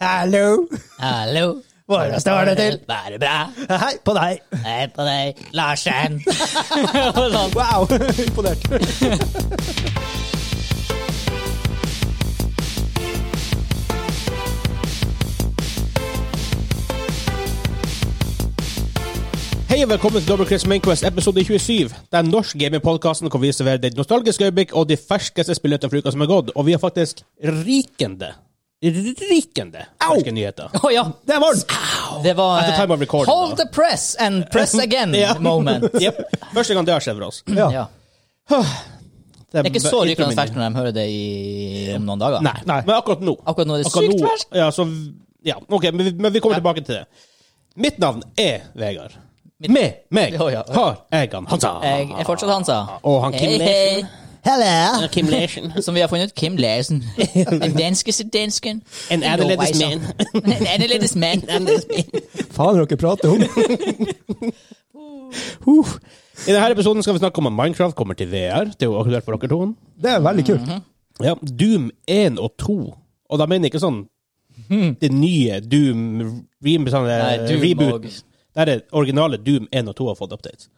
Hallo! Hallo. Hvordan står det til? Bare bra. Hei på deg! Hei på deg, Larsen. Og sånn. Wow! Imponert. Hei og velkommen til Double Chris Mainquest episode 27. Den norske gamingpodkasten hvor vi serverer ditt nostalgiske øyeblikk og de ferskeste spillene til uka som er gått. Og vi har faktisk rikende Rikende ferske nyheter. Å ja. Det er varmt! Det var At the time of eh, recording, Hold da. the press and press again Ja. moment. Jep. Første gang det har skjedd for oss. Ja. Ja. Det Det er ikke så introen rykende min. sterkt når de hører det i, om noen dager. Nei, men akkurat nå. Akkurat nå er det sykt ferskt. Ja, så Ja, OK, men vi, men vi kommer tilbake til det. Mitt navn er Vegard. Med meg Ja, ja. har jeg han Hansa. Jeg er fortsatt Hansa. Og han Kim hei. Hello. Kim Larsen. Som vi har funnet ut, Kim Larsen. Den danskeste dansken. En annerledes Norwaysen. En annerledes mann. Faen, dere prater om Huh. I denne episoden skal vi snakke om at Minecraft kommer til VR. Det er jo aktuelt for dere to. Det er veldig kult. Ja, Doom 1 og 2. Og da mener jeg ikke sånn det nye Doom, re sånn, Hmm. Nei, Doom og- reboot. Det er det originale Doom 1 og 2 har fått updates.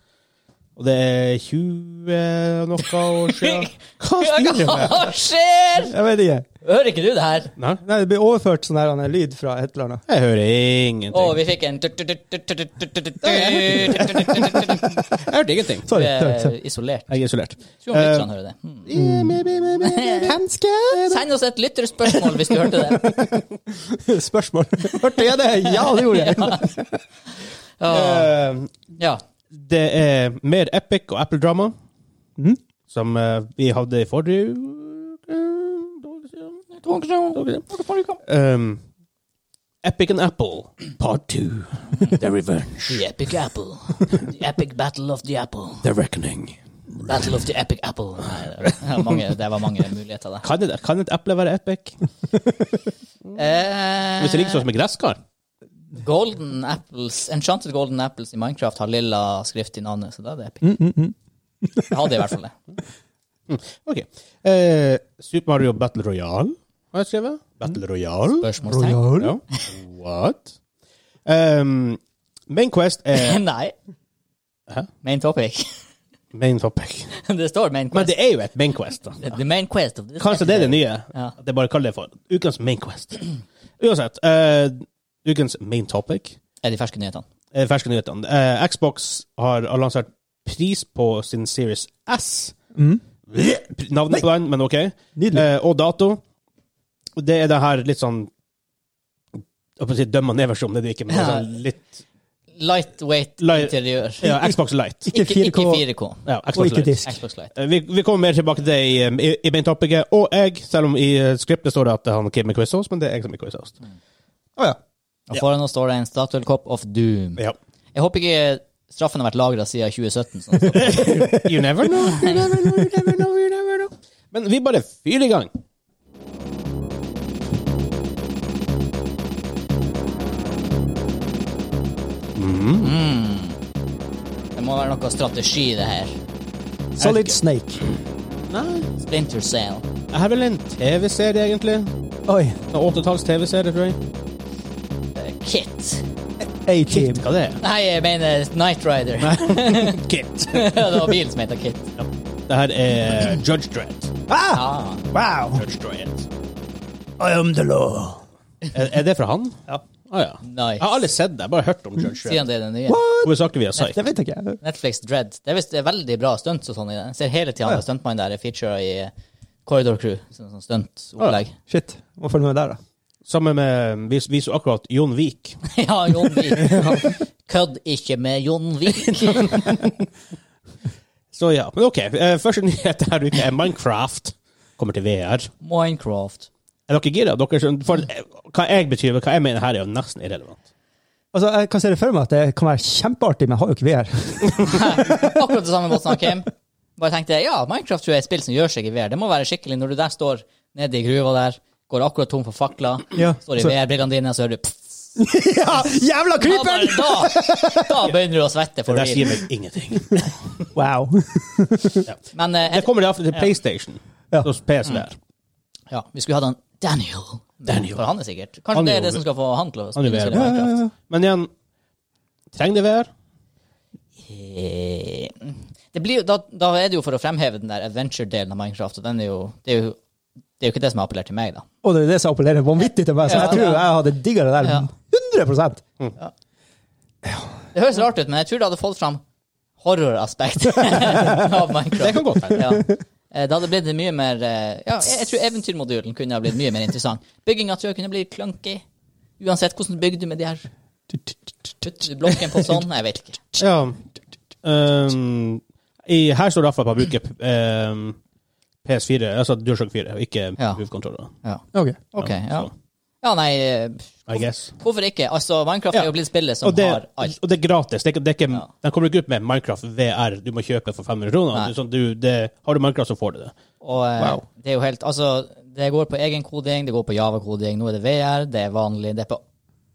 Og det er 20 noe år siden. Hva styrer du med? Hva skjer? Jeg vet ikke. Hører ikke du det her? Nei, Nei, det blir overført sånn her han er lyd fra et eller annet. jeg hører ingenting. Å, vi fikk en Eh, Jeg hørte ingenting. Sorry. sorry, sorry. Isolert. Jeg er isolert. Tror om lytterne hører det. Hmm. Yeah, maybe, maybe, maybe. Kanskje Send oss et lytterspørsmål hvis du hørte det. Spørsmål. Hørte jeg det? Ja, det gjorde jeg. Ja. Eh, Ja. Det er mer epic og Apple drama. Som eh, vi hadde i forrige uke To uker siden. Um, Epic and Apple, part two. The Revenge. The epic apple. The epic battle of the apple. The Reckoning. Battle of the epic apple. Nei, det var mange, det var mange muligheter der. Kan et, kan et eple være epic? Eh, Hvis det ligger sånn som et gresskar? Golden apples, Enchanted golden apples i Minecraft har lilla skrift i navnet, så da er det epic. Jeg hadde i hvert fall det. OK. Eh, Super Mario Battle Royale har jeg skrevet. Battle Royale? Spørsmålstegn? Ja. What? Um, main Quest er Eh, Nei. Hæ? Main topic. main topic. Det står main Men quest. det er jo et main quest. da. The main quest of this Kanskje det er det nye. Ja. At jeg bare kaller det for ukens main quest. Uansett, eh, ukens main topic er de ferske nyhetene. er ferske nyhetene. Eh, Xbox har lansert pris på sin Series S. Bleh! Navnet på den, men OK. Mm. Nydelig. Eh, og dato. Det er det her litt sånn jeg holdt på å si dømmer ned-versjonen, det er det ikke, men det er sånn litt Lightweight Light- interiør. ja, Xbox Light. Ikke, ikke 4K. 4K. Ja, Og Xbox ikke Light. disk. Xbox Light. Eh, Vi, vi kommer mer tilbake til det i, um, i, i main topicet. Og jeg, selv om i eh, skriptet står det at han Kim er quiz-host, men det er jeg som er quiz-host. Å ja. Og foran oss står det en Statuel Cup of Doom. Ja. Jeg håper ikke straffen har vært lagra siden 2017. Sånn at- You never know, you never know, you never know, you never know. Men vi bare fyrer i gang. det må være noe strategi, det her. Solid Snake. Nei, Splinter Cell. jeg har vel en TV-serie, egentlig. Oi. En åttetalls TV-serie, tror jeg. Eh, Kit. A-Team. Hva det er? Nei, jeg mener Knight Rider. Kit. det var bilen som heter Kit. Det her er Judge Dredd. Ah, Ah. wow. Judge Dredd. I am the law. Er, er det fra han? Ja. Å ja. Nice. Jeg har aldri sett det, jeg har bare hørt om Judge Siden Dredd. det er den nye. Hovedsakelig via Psych. Det vet ikke jeg. Netflix Dread. Det er visst veldig bra stunts og sånn i den. Jeg ser hele tida Ah, ja. han stuntmannen der er featura i eh, Corridor Crew. Sånn, sånn stuntopplegg. Shit. Må følge med der, da. Sammen med Vi vi så akkurat Jon Vik. ja, Jon Vik. Kødd ikke med Jon Vik. Så ja, men ok. eh, Første nyhet her uke er Minecraft. Kommer til VR. Minecraft. Er dere gira? Dere skjønner, for, eh, hva jeg betyr, hva jeg mener her, er jo nesten irrelevant. Altså, Jeg kan se det for meg at det kan være kjempeartig, men jeg har jo ikke VR. Akkurat det samme måten han Kim. Bare tenkte jeg, ja, Minecraft tror jeg er et spill som gjør seg i VR. Det må være skikkelig når du der står nede i gruva der, går akkurat tom for fakler, Ja, står i så- VR-brillene dine, så hører du pff, ja, jævla da, bare- da, da begynner du å svette for Det sier real. meg ingenting. Wow. Men eh, Det kommer iallfall til PlayStation. Ja. Mm. Så PS der. ja, vi skulle hatt han Daniel Daniel. For han er sikkert. Han Kanskje det er er det jo- som skal få han til å Han er spille Ja, jo- ja, Minecraft. ja. Men igjen, trenger det VR? Eh, Det blir jo, da, da er det jo for å fremheve den der adventure-delen av Minecraft, og den er jo, det, er jo, det er jo ikke det som har appellert til meg, da. Og det er jo det som appellerer vanvittig til meg, så jeg Ja, tror ja. jeg hadde digga det Ja. der 100 Det høres rart ut, men jeg tror det hadde fått fram horroraspektet av Minecraft. Det kan godt hende. Ja. Eh, Det hadde blitt mye mer eh, Ja, jeg jeg tror eventyrmodulen kunne ha blitt mye mer interessant. Bygginga tror jeg kunne blitt clunky. Uansett hvordan du bygde du med de her Putter du blokken på sånn? Nei, jeg vet ikke. Ja. Ehm, i, her står det iallfall at man bruker ehm, PS4, altså DualShock 4, og ikke Ja. move-kontroller. Ja. Ok. Ok, ja. så, Ja, nei, eh, I guess. hvorfor ikke? Altså, Minecraft er Ja. jo blitt spillet som Og det, har alt. og det er gratis. Det er, ikke- det er ikke, Ja. De kommer ikke ut med Minecraft VR du må kjøpe for 500 kroner. Nei. Du, sånn, du, det, har du Minecraft, så får du det. Og eh, Wow. det er jo helt Altså, det går på egenkoding, det går på Java-koding, nå er det VR, det er vanlig, det er på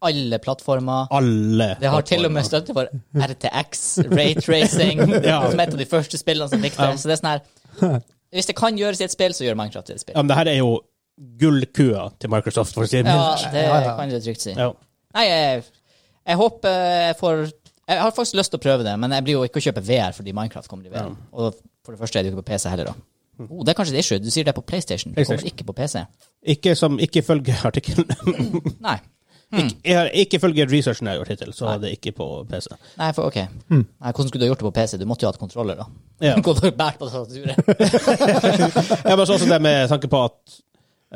alle plattformer. Alle. Det har til og med støtte for RTX, raytracing, Ja. som er et av de første spillene som fikk det. Så det er sånn her Hvis det kan gjøres i et spill, så gjør Minecraft det i et Ja, spill. men det her er jo gullkua til Microsoft, for å si det Ja, mildt. det Ja, ja. kan du trygt si. Ja. Nei, jeg, jeg håper jeg får Jeg har faktisk lyst til å prøve det, men jeg blir jo ikke å kjøpe VR fordi Minecraft kommer i VR. Og for det første er det jo ikke på PC heller, da. Oh, det er kanskje et issue. Du sier det er på PlayStation. Det kommer PlayStation. ikke på PC. Ikke, som, ikke følge artikkelen. Nei. Ikke- jeg har- ikke følge researchen jeg har gjort hittil, så er det ikke på PC. Nei, for ok. Nei, hvordan skulle du ha gjort det på PC? Du måtte jo ha hatt kontroller, da. Hmm. Ja. Gå og bært på tastaturet. Ja, men så også det med tanke på at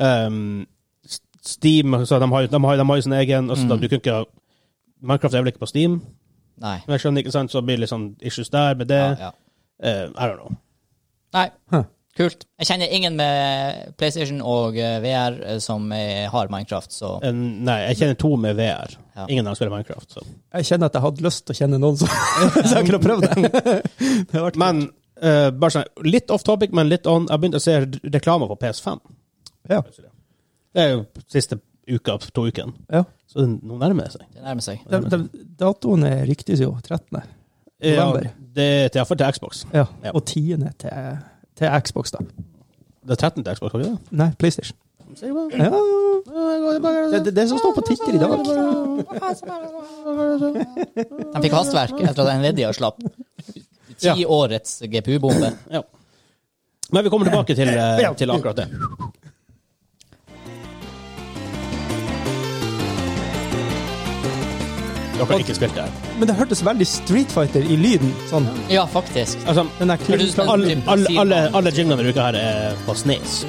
ehm, S- Steam så de, har, jo- de, har, de har jo sin egen altså, Mm. da, du kan ikke, ha- Minecraft er vel ikke på Steam, Nei. men jeg skjønner ikke sant, så blir det litt sånn issues der med det. Ja, ja. Eh, I don't know. Nei. Huh. Kult. Jeg kjenner ingen med PlayStation og eh, VR eh, som eh, har Minecraft, så Eh, nei, jeg kjenner to med VR. Ja. Ingen av dem spiller Minecraft. Så. Jeg kjenner at jeg hadde lyst til å kjenne noen som som kunne prøvd det. det har vært Men eh, bare sånn, litt off topic, men litt on. Jeg begynte å se re- reklame på PS5. Ja. Det er jo siste uka, to ukene. Ja. Så nå nærmer det seg. det nærmer seg. De, de, datoen er riktig, jo. 13. Ja, November. det er til, iallfall til Xbox. Ja. Ja. Og 10. til, til Xbox, da. Det er 13 til Xbox, har vi det? Nei, PlayStation. Sier du Ja, bare? ja, ja. det, det, det som står på Twitter i dag. De fikk hastverk etter at Nvidia slapp Ja. tiårets GPU-bombe. Ja. Men vi kommer tilbake til, eh, til akkurat det. Dere har ikke spilt det her. Men det hørtes veldig Street Fighter i lyden. Sånn. Ja, faktisk. Altså, Den der Hørtes ut som- alle, alle, alle, alle jinglene denne uka her er på snes.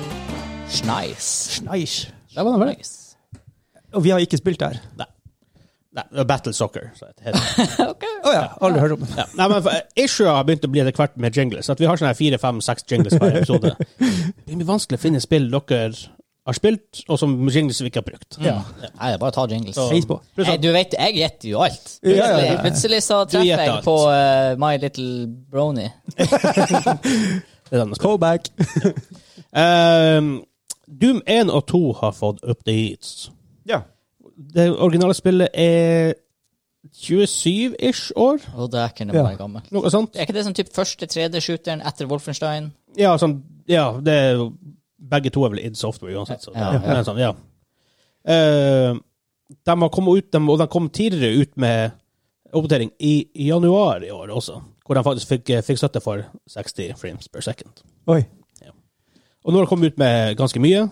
Schneis. Kneish. Det var det Nice. Og vi har ikke spilt der. Nei. Nei, det var Battle Soccer. Så det heter. Å ja. Aldri hørt om det. Ja. Nei, men for- eh, Issue har begynt å bli etter hvert med jingles. At vi har sånne her fire, fem, seks jingles per episode. Det blir vanskelig å finne spill dere har spilt, og som jingles vi ikke har brukt. Ja. Mm. Nei, det er bare å ta jingles. Så- Heis på. Pluss Nei, at- du vet, jeg gjetter jo alt. Ja, ja, ja. Plutselig- Plutselig så treffer gjetter jeg alt. på eh, My Little Brony. det er den jeg skal- Callback. Ehm, Doom 1 og 2 har fått updates. Ja. Det originale spillet er 27-ish år, Og det er ikke noe Ja. bare gammel. noe sånt. Er ikke det sånn typ første 3D-shooteren etter Wolfenstein? Ja, sånn, ja det er, jo- begge to er vel id Software uansett. Så, Ja, ja, Men sånn, ja. Eh, de har kommet ut, de, og de kom tidligere ut med oppdatering i januar i år også, hvor de faktisk fikk, fikk støtte for 60 frames per second. Oi. Og nå har de kommet ut med ganske mye.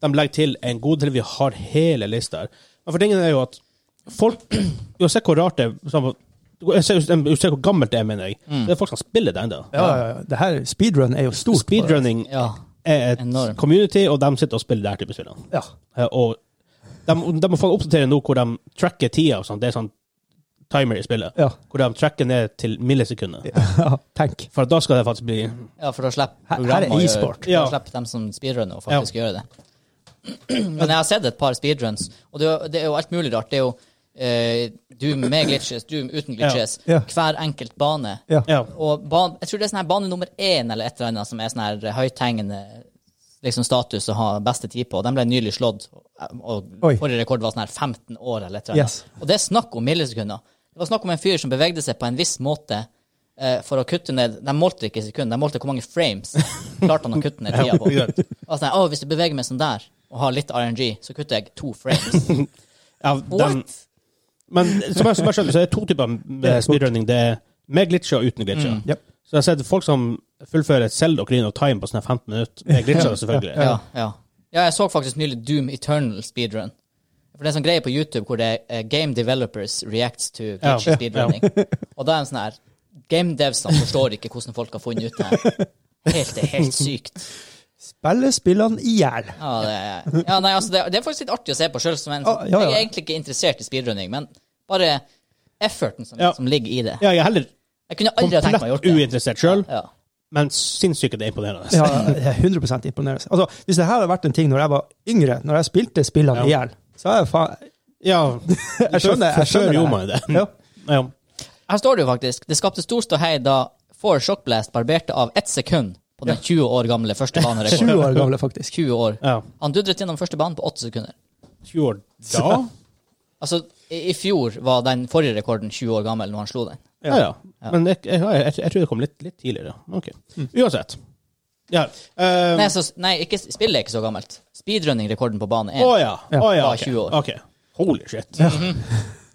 De legger til en god del. Vi har hele lista her. Men for tingen er jo at folk Du har sett hvor rart det er. sånn- Du ser, du ser hvor gammelt det er, mener jeg. Det er folk som spiller det ennå. Ja, ja, ja. Det her, speedrun er jo stort. på det. Speedrunning Ja. er et Enorm. community, og de sitter og spiller det her type spillene. Ja. Eh, Og de, de må få oppdatere nå hvor de tracker tida og sånn. Det er sånn timer i spillet. Ja. Hvor de tracker ned til millisekundet. ja. Tenk. For da skal det faktisk bli Ja, for å slippe Her- her er programmer å gjøre- e-sport. For å Ja. slippe dem som speedrunner, og faktisk gjøre det. Men jeg har sett et par speedruns, og det er, jo- det er jo alt mulig rart. Det er jo eh, Doom med glitches, Doom uten glitches. Ja. Ja. Hver enkelt bane. Ja. Ja. Og ban jeg tror det er sånn her bane nummer én eller et eller annet som er sånn her høythengende liksom status å ha beste tid på. Den ble nylig slått, og Oi. forrige rekord var sånn her 15 år eller et eller annet. Yes. Og det er snakk om millisekunder. Det var snakk om en fyr som bevegde seg på en viss måte eh, for å kutte ned De målte ikke sekunder, de målte hvor mange frames klarte han å kutte ned tida på. Ja, Og sånn her, «Å, hvis du beveger meg sånn der, og har litt RNG, så kutter jeg to frames. Ja, den, men som jeg, som jeg skjønner, så er det to typer eh, speedrunning. Det er med glitcher og uten glitcher. Mm. Yep. Så jeg har sett folk som fullfører Zelda og Green of Time på sånne 15 minutter. Med glitcher, selvfølgelig. Ja, ja. ja, jeg så faktisk nylig Doom Eternal speedrun. For det er en sånn greie på YouTube hvor det er eh, Game Developers Reacts to Ja, Glitchy ja. Speedrunning. Og da er en sånn her Game devsene forstår ikke hvordan folk har funnet ut det her. Helt, det er helt sykt. Spiller spillene i hjel. Ja, det, er- ja, nei, altså, det, er- det er faktisk litt artig å se på sjøl. Ah, ja, ja. sånn- Jeg er egentlig ikke interessert i speedrunning, men bare efforten som, Ja. som ligger i det. Ja, jeg er heller Jeg kunne aldri ha tenkt meg å komplett gjort det. uinteressert sjøl, Ja. men sinnssykt det er imponerende. Ja, det er 100 imponerende. Altså, hvis det her hadde vært en ting når jeg var yngre, når jeg spilte spillene Ja. i hjel, så er jeg faen Ja, Jeg skjønner, jeg skjønner jo det. man det. Ja. Ja. Her står det jo faktisk Det skapte stor ståhei da Four Shockblast barberte av ett sekund på den 20 år gamle første banerekorden. 20 år gamle, faktisk. 20 år. ja. Han dudret gjennom første banen på 8 sekunder. 20 år da? Altså, i, i fjor var den forrige rekorden 20 år gammel når han slo den. Ja, ja. Men jeg, jeg, jeg, jeg tror det kom litt, litt tidligere. Ok. Uansett. Ja. eh, Nei, så, nei ikke, spillet er ikke så gammelt. Speedrunning-rekorden på bane 1. Å ja. Å ja. Var ok. 20 år. Ok. Holy shit.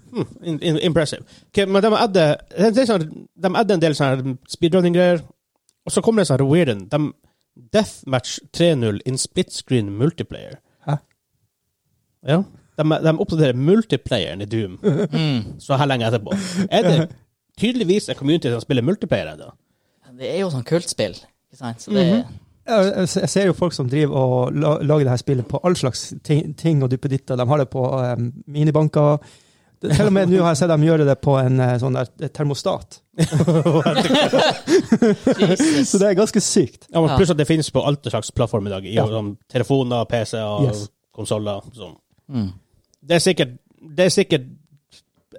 Hmm, in, in, impressive. Ok, men de adde, det er sånn- de adde en del sånne speedrunning-greier, og så kommer det sånn weird en. De Deathmatch 3-0 in split screen multiplayer. Hæ? Ja. De, de oppdaterer multiplayeren i Doom Mm. Mm. så her lenge etterpå. Er det tydeligvis en community som spiller multiplayer ennå? Det er jo sånn kultspill. Ikke sant? Så det, Mhm. Jeg, jeg- jeg ser jo folk som driver og la- lager det her spillet på all slags ting, ting og duppeditter. De har det på eh, minibanker. Det- Til og med nå har jeg sett dem gjøre det på en eh, sånn der termostat. Jesus. Så det er ganske sykt. Ja, men Ja. pluss at det finnes på alt slags plattform i dag. I, Ja. sånn, telefoner, PC-er, Yes. konsoller. Sånn. Mm. Det er sikkert Det er sikkert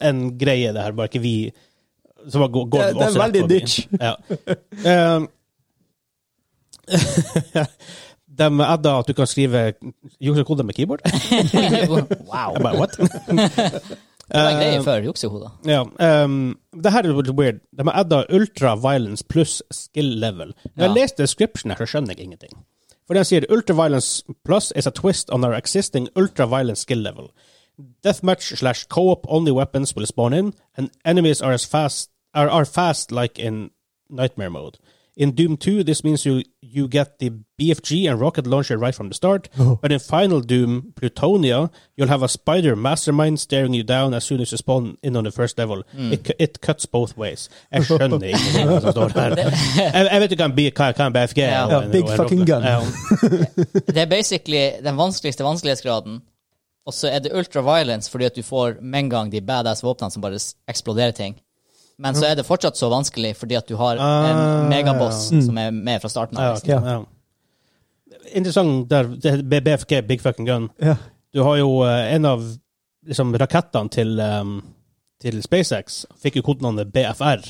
en greie, det her, bare ikke vi som har gå- gått Det- det er oss rett veldig forbi. niche. Ja. Ehm, de adda at du kan skrive juksekode med keyboard. wow. Jeg bare, what? Ehm, Det Eh. var en greie før juksehoda. Ja, ehm, det her er litt weird. De har adda ultra violence pluss skill level. Når jeg Ja. leser description her, så skjønner jeg ingenting. For den sier ultra violence plus is a twist on our existing ultra violence skill level. Deathmatch slash co-op only weapons will spawn in, and enemies are as fast are, are fast like in nightmare mode. In Doom 2, this means you you get the BFG and rocket launcher right from the start. Oh. But in Final Doom Plutonia, you'll have a spider mastermind staring you down as soon as you spawn in on the first level. It, cu- it cuts both ways. Jeg skjønner ikke hva som står her. Jeg, jeg vet ikke hva en B- hva- hva en BFG er. Ja. og Ja, en- big og en fucking rocket- gun. Ja. Det er basically den vanskeligste vanskelighetsgraden. Og så er det ultraviolence fordi at du får med en gang de badass våpnene som bare s- eksploderer ting. Men så er det fortsatt så vanskelig fordi at du har en Mm. Ah. megaboss som er med fra starten Ja, av. ok, liksom. Ja. ja. Interessant der. det- B- BFG, big fucking gun. Ja. Du har jo eh, en av liksom, rakettene til, ehm, til SpaceX fikk jo kodenavnet BFR.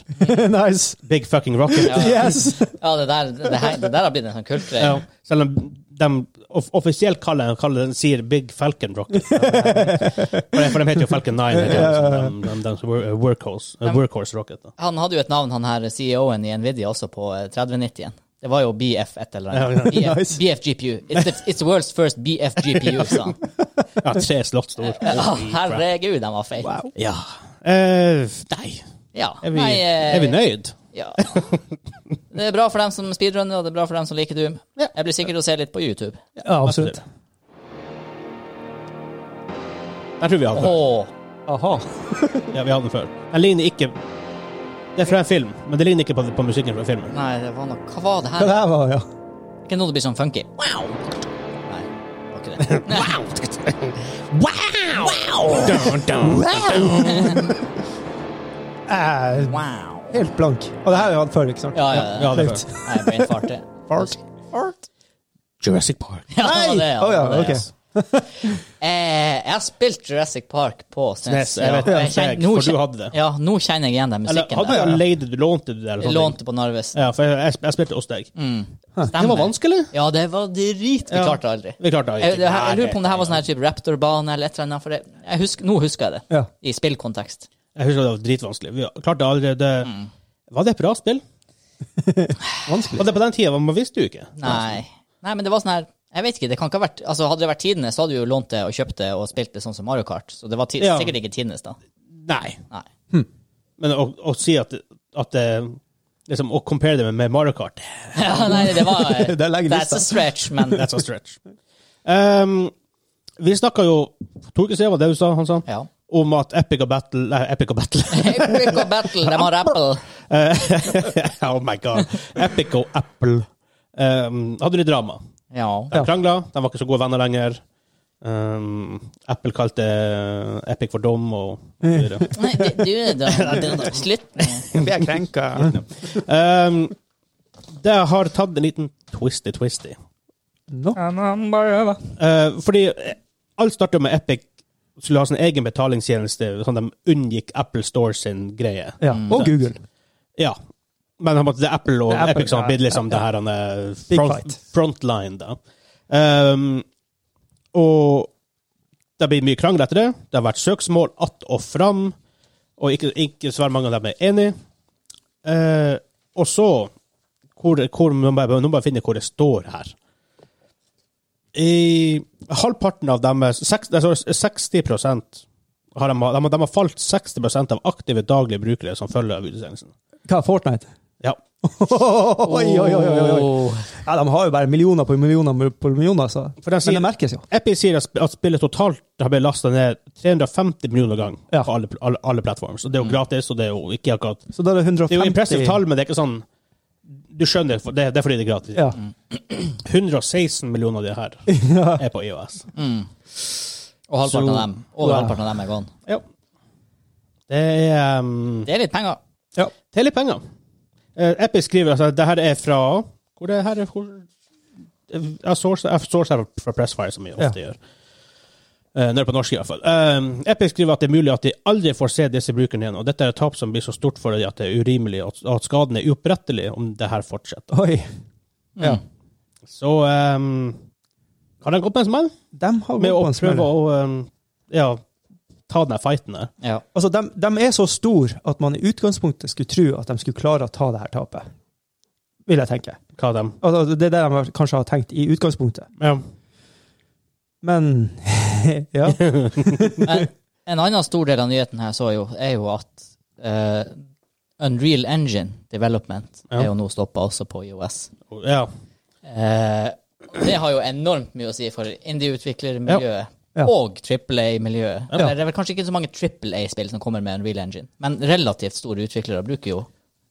nice! Big fucking rocket. Ja. Yes! Ja, det der, det, her, det der har blitt en sånn kultgreie. Ja. Selv om de off offisielt kaller, kaller den sier Big Falcon Rocket. for, de- for de heter jo Falcon 9. Heter de, så de, de, de, som wor- workhorse, eh, workhorse Rocket. Da. Han hadde jo et navn, han her CEO-en i Nvidia, også på eh, 3090-en. Det var jo BF et eller annet. Ja, ja. BF, Nice. GPU. It's the, it's the world's first BF GPU, sa han. Ja, tre slott stor. Ja, herregud, den var feil. Ja. Eh, nei. Ja. Er vi, Nei, eh, er vi nøyd? Ja. Det er bra for dem som speedrunner, og det er bra for dem som liker Doom. Ja. Jeg blir sikkert å se litt på YouTube. Ja, absolutt. Jeg tror vi hadde den. Åh, Aha. Ja, vi hadde den før. Den ligner ikke Det er fra en film, men det ligner ikke på, på musikken fra filmen. nei, det var noe Hva var det Hva her? det her var, ja. Ikke noe det blir sånn funky. Wow! Nei, det var ikke det. Nei. Dun, dun. Eh, Wow! helt blank. Og det her har jeg hatt før, ikke sant? Ja, ja, ja. Ja, det er Flaut. før. Nei, jeg ble infartet. Fart. Fart. Jurassic Park. Ja, det var Å det, ja. det ja, var det, ok. Eh, jeg har spilt Jurassic Park på SNES. Nes, jeg vet ja. det, ikke jeg, nå for du kjen- hadde det. Ja, nå kjenner jeg igjen den Eller musikken. hadde der. jeg leid du lånte det? Eller Jeg sånne ting? lånte på Narvesen. Ja, for jeg, jeg, jeg spilte hos deg. Mm. Stemmer. Det var vanskelig. Ja, det var drit. Vi Ja. klarte det aldri. Vi klarte det Jeg, ikke. det her, jeg lurer på om det her var sånn her type Raptor-bane eller et eller annet. For det, jeg husker, nå husker jeg det, Ja. i spillkontekst. Jeg husker det var dritvanskelig. Vi klarte det aldri. Det, Mm. Var det et bra spill? Vanskelig. Var det på den tida? Man visste jo ikke. Nei. Nei, men det var sånn her Jeg vet ikke, det kan ikke ha vært Altså Hadde det vært tidenes, så hadde vi jo lånt det og kjøpt det og spilt det sånn som Mario Kart. Så det var ti- Ja. sikkert ikke tidenes, da. Nei. Nei. Men å, å si at, at det, liksom, Å compare det med- med Mario Kart, Ja, nei, det var Der legger That's lista. a stretch, men that's a stretch. Um, vi snakka jo to uker siden, var det du sa, han sa, Ja. om at Epic og Battle Nei, Epic og Battle. Epic og Battle, de har Apple. oh my god. Epic og Apple um, hadde litt drama. Ja. De Ja. krangla, de var ikke så gode venner lenger. Um, Apple kalte eh, Epic for dum og så videre. Nei, du, du, da. Slutt. Blir jeg krenka? Um, det har tatt en liten twisty-twisty. No. Eh, fordi eh, alt startet med Epic skulle ha sin egen betalingstjeneste, sånn de unngikk Apple Store sin greie. Ja. Og Google. Ja. Men han måtte- det er Apple og Det er Apple, Epic som har blitt liksom ja, det her han er Big front, fight. frontline, da. Ehm, og det blir mye krangel etter det. Det har vært søksmål att og fram, og ikke, ikke svært mange av dem er enige. Eh, og så hvor, hvor, Nå må jeg nå må jeg finne hvor det står her. I halvparten av dem er seks- det står 60 har de, de, har- de har falt 60 av aktive daglige brukere som følger utsendelsen. Hva, Fortnite? Ja. Oi, oi, oi, oi, oi. Oh. Ja, de har jo bare millioner på millioner på millioner, altså. For de Men sier, det merkes jo. Epic sier at sp- at spillet totalt har blitt lasta ned 350 millioner ganger Ja. Mm. på alle, pl- alle, alle plattformer. Så det er jo gratis, og det er jo ikke akkurat Så da er det Det er jo 150 impressive tall, men det er ikke sånn Du skjønner, for det, det er fordi det er gratis. Ja. 116 millioner av de her er på E IOS. Mm. Og halvparten av Så- dem. Over Wow. halvparten av dem er gone. Ja. Det er um, Det er litt penger. Det er litt penger. Eh, Epic skriver altså, at det her er fra Hvor det her er hvor, Jeg sourcer jeg sourcer fra Pressfire, som vi ofte gjør. Uh, Nede på norsk, i hvert fall. Eh, Epic skriver at det er mulig at de aldri får se disse brukerne igjen, og dette er et tap som blir så stort for dem at det er urimelig, og at- og at skaden er uopprettelig om det her fortsetter. Oi. Ja. Mm. Så um, har de gått med en smell De har gått med å på en smell. prøve å eh, ja, ta den her fighten der. Ja. Altså, de, de er så store at man i utgangspunktet skulle tro at de skulle klare å ta det her tapet. Vil jeg tenke. Hva de Altså, det er det de kanskje har tenkt i utgangspunktet. ja. Men ja. Men Eh, en annen stor del av nyheten her så jo, er jo at eh, Unreal Engine Development Ja. er jo nå stoppa også på IOS. ja. Eh, det har jo enormt mye å si for indie-utviklermiljøet. Ja. Og AAA-miljøet. Ja. Det er vel kanskje ikke så mange AAA-spill som kommer med Unreal Engine, men relativt store utviklere bruker jo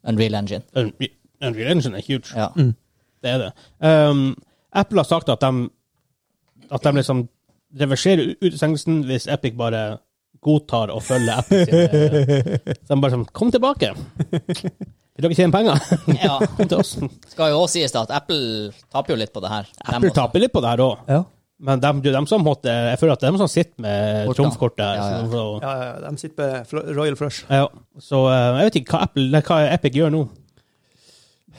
Unreal Engine. Unreal Unreal Engine er huge. Ja. Mm. Det er det. Ehm, Apple har sagt at de, at de liksom reverserer utestengelsen hvis Epic bare godtar å følge Apple sine Så de bare sånn Kom tilbake! Vil dere tjene penger? ja. Kom til oss. Skal jo også sies da at Apple taper jo litt på det her. Dem Apple også. taper litt på det her òg, ja. men de, de som måtte, jeg føler at det er de som sitter med Kortene. trumfkortet her. Ja, ja. så- så- ja, ja, de sitter på fl- Royal Flush. Ja, så eh, jeg vet ikke hva, Apple, nei, hva Epic gjør nå.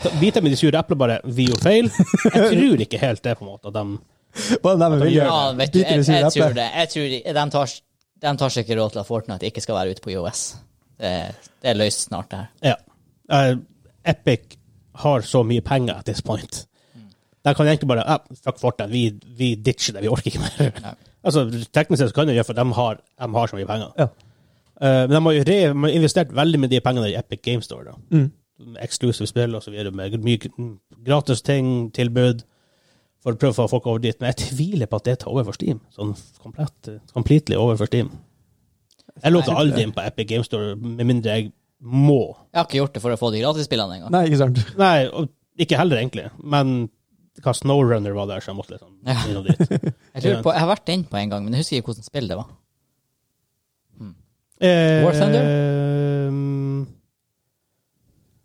Så Biter med de sure eplene bare Vi gjorde feil. Jeg tror ikke helt det, på en måte. At de, Hva er det de vil gjør gjøre? Ja, vet du, Biter i jeg, sin jeg leppe. tror det. Jeg tror de, de, tar, de tar seg ikke råd til at Fortnite ikke skal være ute på IOS. Det, det er løst snart, det her. ja. Eh, Epic har så mye penger at this point. De kan egentlig bare ah, Fuck Fortnite, vi, vi ditcher det. Vi orker ikke mer. Nei. altså, Teknisk sett så kan de gjøre for de har, de har så mye penger. Ja. Eh, men de har jo re, de har investert veldig med de pengene i Epic Game Store. da. Mm. Med Exclusive spill og så videre, med mye mm, gratis ting, tilbud. For å prøve å få folk over dit. Men jeg tviler på at det tar over for Steam. Sånn komplett, completely over for Steam. Jeg låter Nei. aldri inn på Epic Game Store med mindre jeg må. Jeg har ikke gjort det for å få de gratisspillene engang. Nei, ikke sant? Nei, og ikke heller, egentlig. Men hva Snowrunner var der, så jeg måtte liksom Ja. innom dit. Jeg, lurer på- jeg har vært inne på en gang, men jeg husker ikke hvilket spill det var. Eh, War Thunder?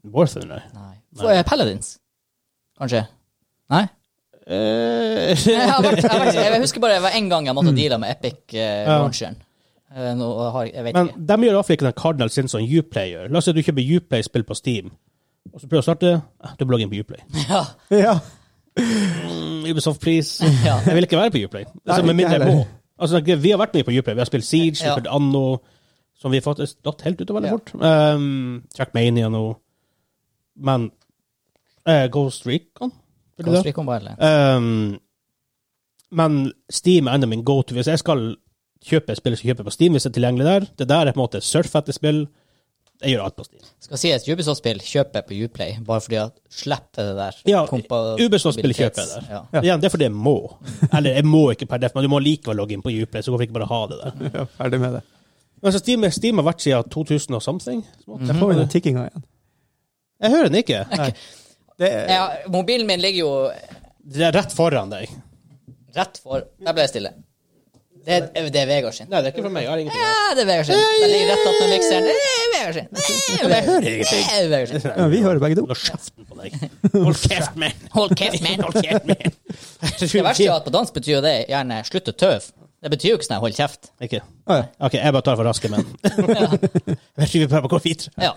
eh, War Thunder? Nei. mm, Nei. For, eh, Paladins, kanskje? Nei? Eh, Jeg, har vært, jeg, har vært, jeg husker bare det var en gang jeg måtte deale med Ja. Epic-launcheren. Eh, Nå har jeg- jeg vet Men ikke. de gjør iallfall ikke den Cardinal sin som Uplay gjør. La oss si at du kjøper Uplay-spill på Steam, og så prøver du å starte eh, Du blogger inn på Uplay. Ja, Ja. Mm, Ubisoft-pris ja. Jeg vil ikke være på Uplay. Altså, med ikke mindre jeg heller. må. Altså, vi har vært mye på Uplay. Vi har spilt Siege, vi Ja. har spilt Anno, som vi faktisk datt helt ut av veldig Ja. fort. Um, Trackmania nå. Men eh, Ghost Recon? Vil du det? Ghost Recon Wildlands. Um, Men Steam er enda min go-to. Hvis jeg skal kjøpe spill, så kjøper jeg på Steam hvis det er tilgjengelig der. Det der er på en måte surf etter spill. Jeg gjør alt på Steam. Skal si at Ubisoft-spill kjøper jeg på Uplay, bare fordi at slipper det der. Ja, kompatibilitets- Ubisoft-spill kjøper jeg der. Ja. Ja. Igjen, det er fordi jeg må. Eller jeg må ikke per def, men du må likevel logge inn på Uplay, så hvorfor ikke bare ha det der? Ja, ferdig med det. Men så Steam, Steam har vært siden 2000 og something. Mhm. Der får vi den tikkinga igjen. Jeg hører den ikke. Det er, Ja, mobilen min ligger jo Det er rett foran deg. rett for Der ble jeg stille. Det er, det er Vegard sin. Nei, det er ikke for meg. Jeg har ingenting. Ja, det er Vegard sin. Den ligger rett attmed mikseren. Det er Vegard sin. Det er hører ingenting. Det er Vegard sin. ja, vi hører begge to. Hold kjeften på deg. Hold kjeft, man. Hold kjeft, man. Hold kjeft, man. Det verste er at på dansk betyr jo det gjerne 'slutt å tøve'. Det betyr jo ikke sånn 'hold kjeft'. Ikke. Ah, ja. OK, jeg bare tar for raske menn. Jeg tror vi prøver å gå videre. Ja.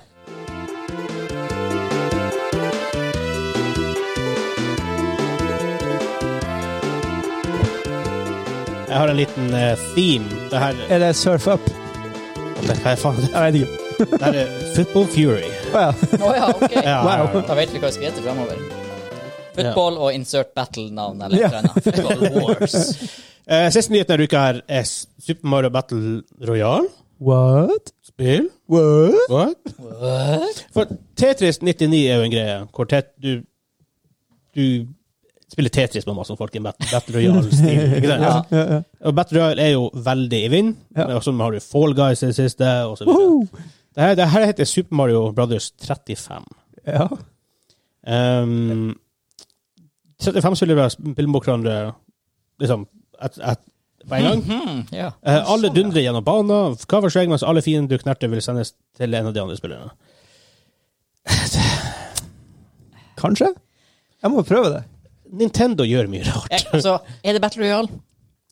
Jeg har en liten eh, theme. Det her Er det surf up? Hva er faen? Jeg vet ikke. Det her er Football Fury. Å ja. Å ja, ok. Ja, Wow. Da vet vi hva vi skal hete fremover. Football og insert battle-navn eller Ja. et eller annet. Football Wars. Eh, siste nyheten denne uka her er eh, Super Mario Battle Royale. What? Spill. What? What? What? For Tetris 99 er jo en greie hvor tet du, du spiller Tetris med masse folk i en Battle, battle Royale-stil. ikke sant? Ja. Ja, ja. Og Battle Royale er jo veldig i vind. Ja. Og så har du Fall Guys i det siste, og så videre. Woohoo! Det her, det her heter Super Mario Brothers 35. Ja. Um, 35 spillere spiller mot hverandre liksom, et, et, på en gang. Mhm, ja. Eh, alle dundrer gjennom banen, cover seg, mens alle fiender du knerter, vil sendes til en av de andre spillerne. Kanskje? Jeg må prøve det. Nintendo gjør mye rart. Eh, Så er det Battle Royale.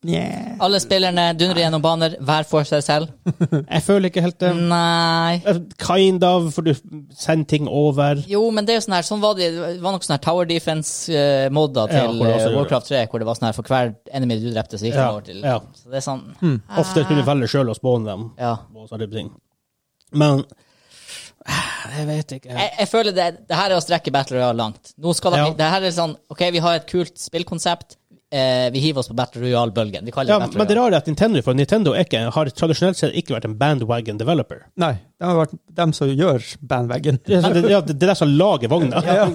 Yeah. Alle spillerne dundrer gjennom baner, hver for seg selv. Jeg føler ikke helt det. Mm. Nei Eh, Kind of, for du sender ting over. Jo, men det er jo sånn her Sånn var det Det var nok sånn her Tower Defense-modder Ja, til hvor det også eh, gjør Warcraft 3, hvor det var sånn her for hver enemy du drepte, så gikk det Ja, over til ja. Så det er sånn Ofte kunne du velge sjøl å spåne dem. Ja. Og sånne ting. Men eh, Jeg vet ikke. Jeg, jeg føler det Det her er å strekke Battle Royale langt. Nå skal Ja. det, det her er sånn OK, vi har et kult spillkonsept. Eh, vi hiver oss på Battle Royale-bølgen. Vi kaller Ja, det men Battle det Royale. rare er at Nintendo for Nintendo er ikke, har tradisjonelt sett ikke vært en bandwagon developer. Nei, de har vært dem som gjør bandwagon. Det er, sånn- det, ja, det det er det som lager vogna. Ja,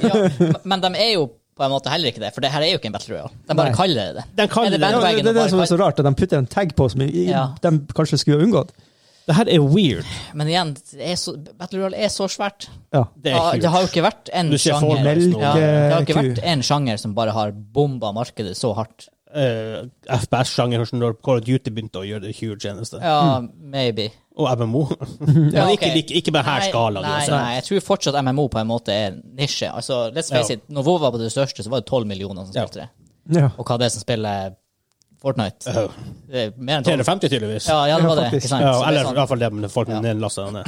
men de er jo på en måte heller ikke det, for det her er jo ikke en Battle Royale. De bare Nei. kaller det det. Den Er kaller det det, Ja, det, det er det som er så rart, at de putter en tag på som i- i- Ja. de kanskje skulle ha unngått. det her er weird. Men igjen, det er så, Battle Royale er så svært. Ja. Det Ja, er det har jo huge. ikke vært en Du ser sjanger Fortnite nå. ja, Det har ikke Melkeku. vært en sjanger som bare har bomba markedet så hardt. Eh, FPS-sjangeren hvordan når Call of Duty begynte å gjøre det huge tjeneste. Ja, maybe. Og MMO. Ja, Men ok. Mm. ikke, ikke, ikke med her skalaen. Nei, altså. nei, nei, jeg tror fortsatt MMO på en måte er nisje. Altså, let's face Ja. it, når WoW var på det største, så var det 12 millioner som Ja. spilte det. Ja. Og hva det er som spiller Fortnite? Øh, Det er mer enn 12. 350, tydeligvis. Ja, ja, det var det. Ja, faktisk. Ikke sant? Ja, Så det er eller sånn- iallfall det med folk Ja. med nedlastet ned.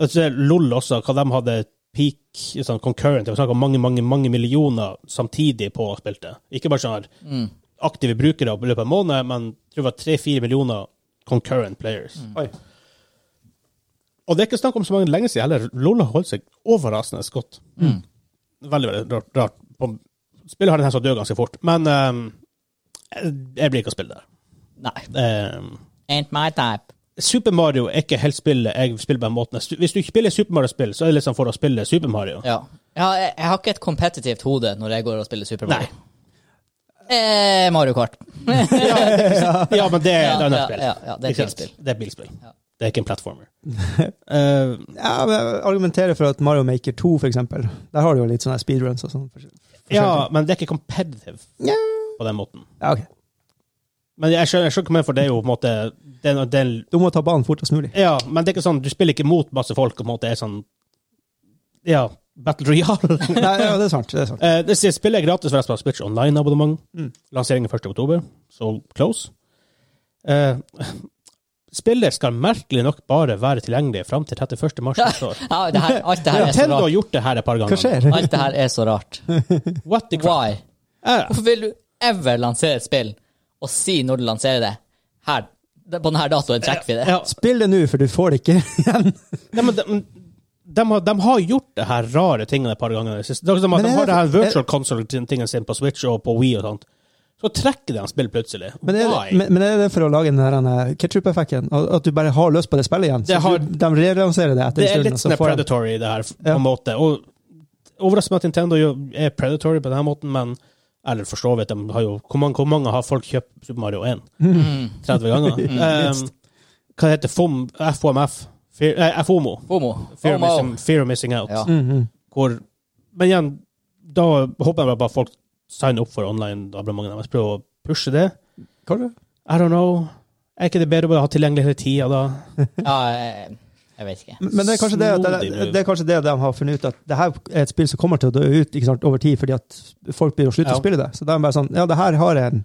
Og så er LOL også, hva de hadde peak sånn concurrent, det var snakk om mange, mange mange millioner samtidig på spilte. Ikke bare sånn her Mm. aktive brukere i løpet av en måned, men jeg tror det var tre-fire millioner concurrent players. Mm. Oi. Og det er ikke snakk om så mange lenge siden heller. LOL har holdt seg overraskende godt. Mm. Veldig, veldig rart. rart. På- Spillet har en tendens til å dø ganske fort, men eh, jeg blir ikke å spille det. Nei. Eh, Ain't my type. Super Mario er ikke helt spillet jeg spiller på en måte. Hvis du ikke spiller Super Mario-spill, så er det liksom for å spille Super Mario. Ja. ja jeg, jeg har ikke et kompetitivt hode når jeg går og spiller Super Mario. Nei. Eh, Mario Kart. Ja, men det Ja, er Eh, et annet ja, spill. ja, ja, det er et Ikke sant? bilspill. Det er et bilspill. Ja. Det er ikke en platformer. Eh, Ja, men jeg argumenterer for at Mario Maker 2, for eksempel, der har du jo litt sånne speedruns og sånn. ja, men det er ikke competitive Ja. på den måten. Ja, ok. Men jeg skjønner, jeg skjønner ikke mer, for det er jo på en måte det er, det er, Du må ta banen fortest mulig. Ja, men det er ikke sånn, du spiller ikke mot masse folk, og på en måte er sånn Ja, Battle Royale. Nei, ja, det er sant. Det er sant. Eh, det sier spillet er gratis forresten på Switch Online-abonnement. Mm. Lanseringen 1. oktober, så close. Eh, spillet skal merkelig nok bare være tilgjengelig fram til 31. mars neste år. Ja, det her, alt det her er så Nintendo har rart. gjort det her et par ganger. Hva skjer? Alt det her er så rart. What the crap? Why? Eh, Hvorfor vil du ever lansere et spill og si når du lanserer det her, På denne datoen trekker vi det. ja. Spill det nå, for du får det ikke igjen. Nei, men de, de, har, de har gjort det her rare tingene et par ganger. i det siste. Det er som at Men de er har det- det her virtual console-tingen sin på Switch og på Wii og sånt. Så trekker de spill plutselig. Men er, Why? men, men er det for å lage den der ketsjup-effekten? At du bare har lyst på det spillet igjen? Det Så har- du- de relanserer det etter en det er stund? litt og sånn så får de- predatory, det her, på Ja. en måte. Og Overraskende at Nintendo gjør- er predatory på denne måten, men eller for så vidt, de har jo, hvor, mange, hvor mange har folk kjøpt Super Mario 1? Mm. Mm. 30 ganger? Minst. um, hva heter FOM, FOMF? Fear, eh, FOMO. Homo. Fear, of Homo. missing, fear of missing out. Ja. Mm, mm. Hvor, men igjen, da håper jeg bare at folk signer opp for online-abonnementet deres. Prøver å pushe det. Hva er det? I don't know. Er ikke det bedre å bare ha tilgjengelig hele tida da? Ja, jeg, jeg vet ikke. Men det er, kanskje det, at det, Snodig move. det er kanskje det de har funnet ut, at det her er et spill som kommer til å dø ut ikke sant, over tid, fordi at folk blir å slutte Ja. å spille det. Så da er de bare sånn Ja, det her har, en,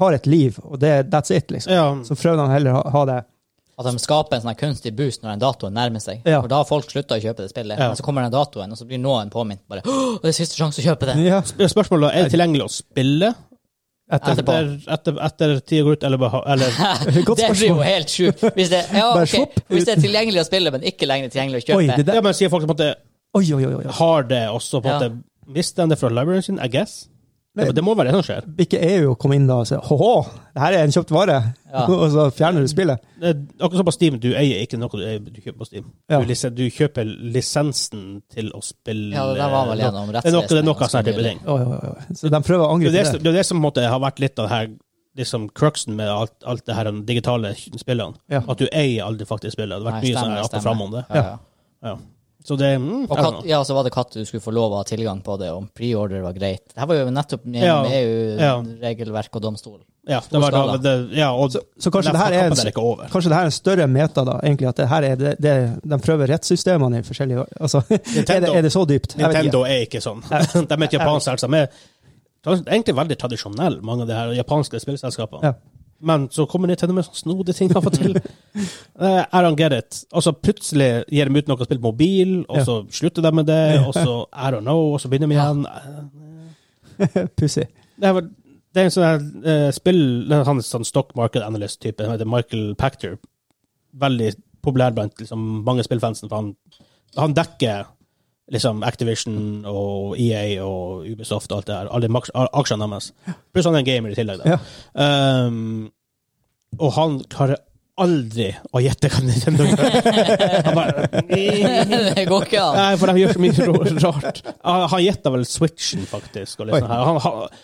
har et liv, og det, that's it, liksom. Ja, Så prøver de heller å ha, ha det At de skaper en sånn her kunstig boost når den datoen nærmer seg. Ja. For da har folk slutta å kjøpe det spillet. Ja. Men så kommer den datoen, og så blir noen påminnet bare «Åh, det er siste sjanse å kjøpe det. Mm. ja, spørsmålet er er det tilgjengelig å spille etter. Etterpå. etter, etter, etter tida går ut, eller, beha- eller Godt det blir jo spørsmål. helt sjukt. Hvis, det- ja, Bare ok. sjopp Hvis det er tilgjengelig å spille, men ikke lenger tilgjengelig å Oi, kjøpe. det der, Ja, men sier folk på en måte oi, oi, oi, oi. har det også, på en Ja. måte mister de det fra libraryen sin, I guess? Det, det må være det som skjer. Ikke EU å komme inn da og si hå-hå, det her er en kjøpt vare, Ja. og så fjerner du spillet. Det er akkurat som på Steam, du eier ikke noe du, eier, du kjøper på Steam. Ja. Du, lise- du kjøper lisensen til å spille Ja, det der var vel gjennom Det er noe, det er noe rettsvesenet sånn type ganske ting. Oi, oi, oi. Så de prøver å Det angripe er det, det. som- det, er det som på en måte har vært litt av det her liksom cruxen med alt, alt det her de digitale spillene. Ja. At du eier aldri faktisk spillet. Det har vært Nei, mye sånn stemmer, her opp og stemmer. fram om det. Ja, ja. Ja. Så det mm, Og I don't katt, know. ja, så var det katt du skulle få lov å ha tilgang på det, og preorder var greit. Det her var jo nettopp med Ja, ja. EU-regelverk og domstol. ja, det var, skala. det, ja, og Så, så kanskje det her derfor er kampen en, ikke over. Kanskje det her er en større meta, da, egentlig, at det her er det, det de prøver rettssystemene i forskjellige altså, er, det, er det så dypt? Jeg vet ikke. Nintendo er ikke sånn. De er et japansk selskap. De er de er egentlig veldig tradisjonelle, mange av de her japanske spillselskapene. Ja. Men så kommer Nintendo med sånne snodige ting av og til. Eh, I don't get it. Og så plutselig gir de ut noe å spille på mobil, og så slutter de med det, og så I don't know, og så begynner de igjen. Pussig. Det er, vel- det er en sånn her, eh, spill det er Han er sånn stock market analyst-type. Han heter Michael Pactor. Veldig populær blant liksom, mange spillfansen, for han, han dekker liksom Activision og EA og Ubisoft og alt det her. Alle maks- a- aksjene deres. Pluss han er en gamer i tillegg. Da. Ja. Um, og han klarer aldri å gjette hva Nintendo gjør. Han bare det går ikke an. Nei, for de gjør så mye ro- rart. Han han gjetta vel switchen, faktisk. Og litt Oi. sånn her. Han, han,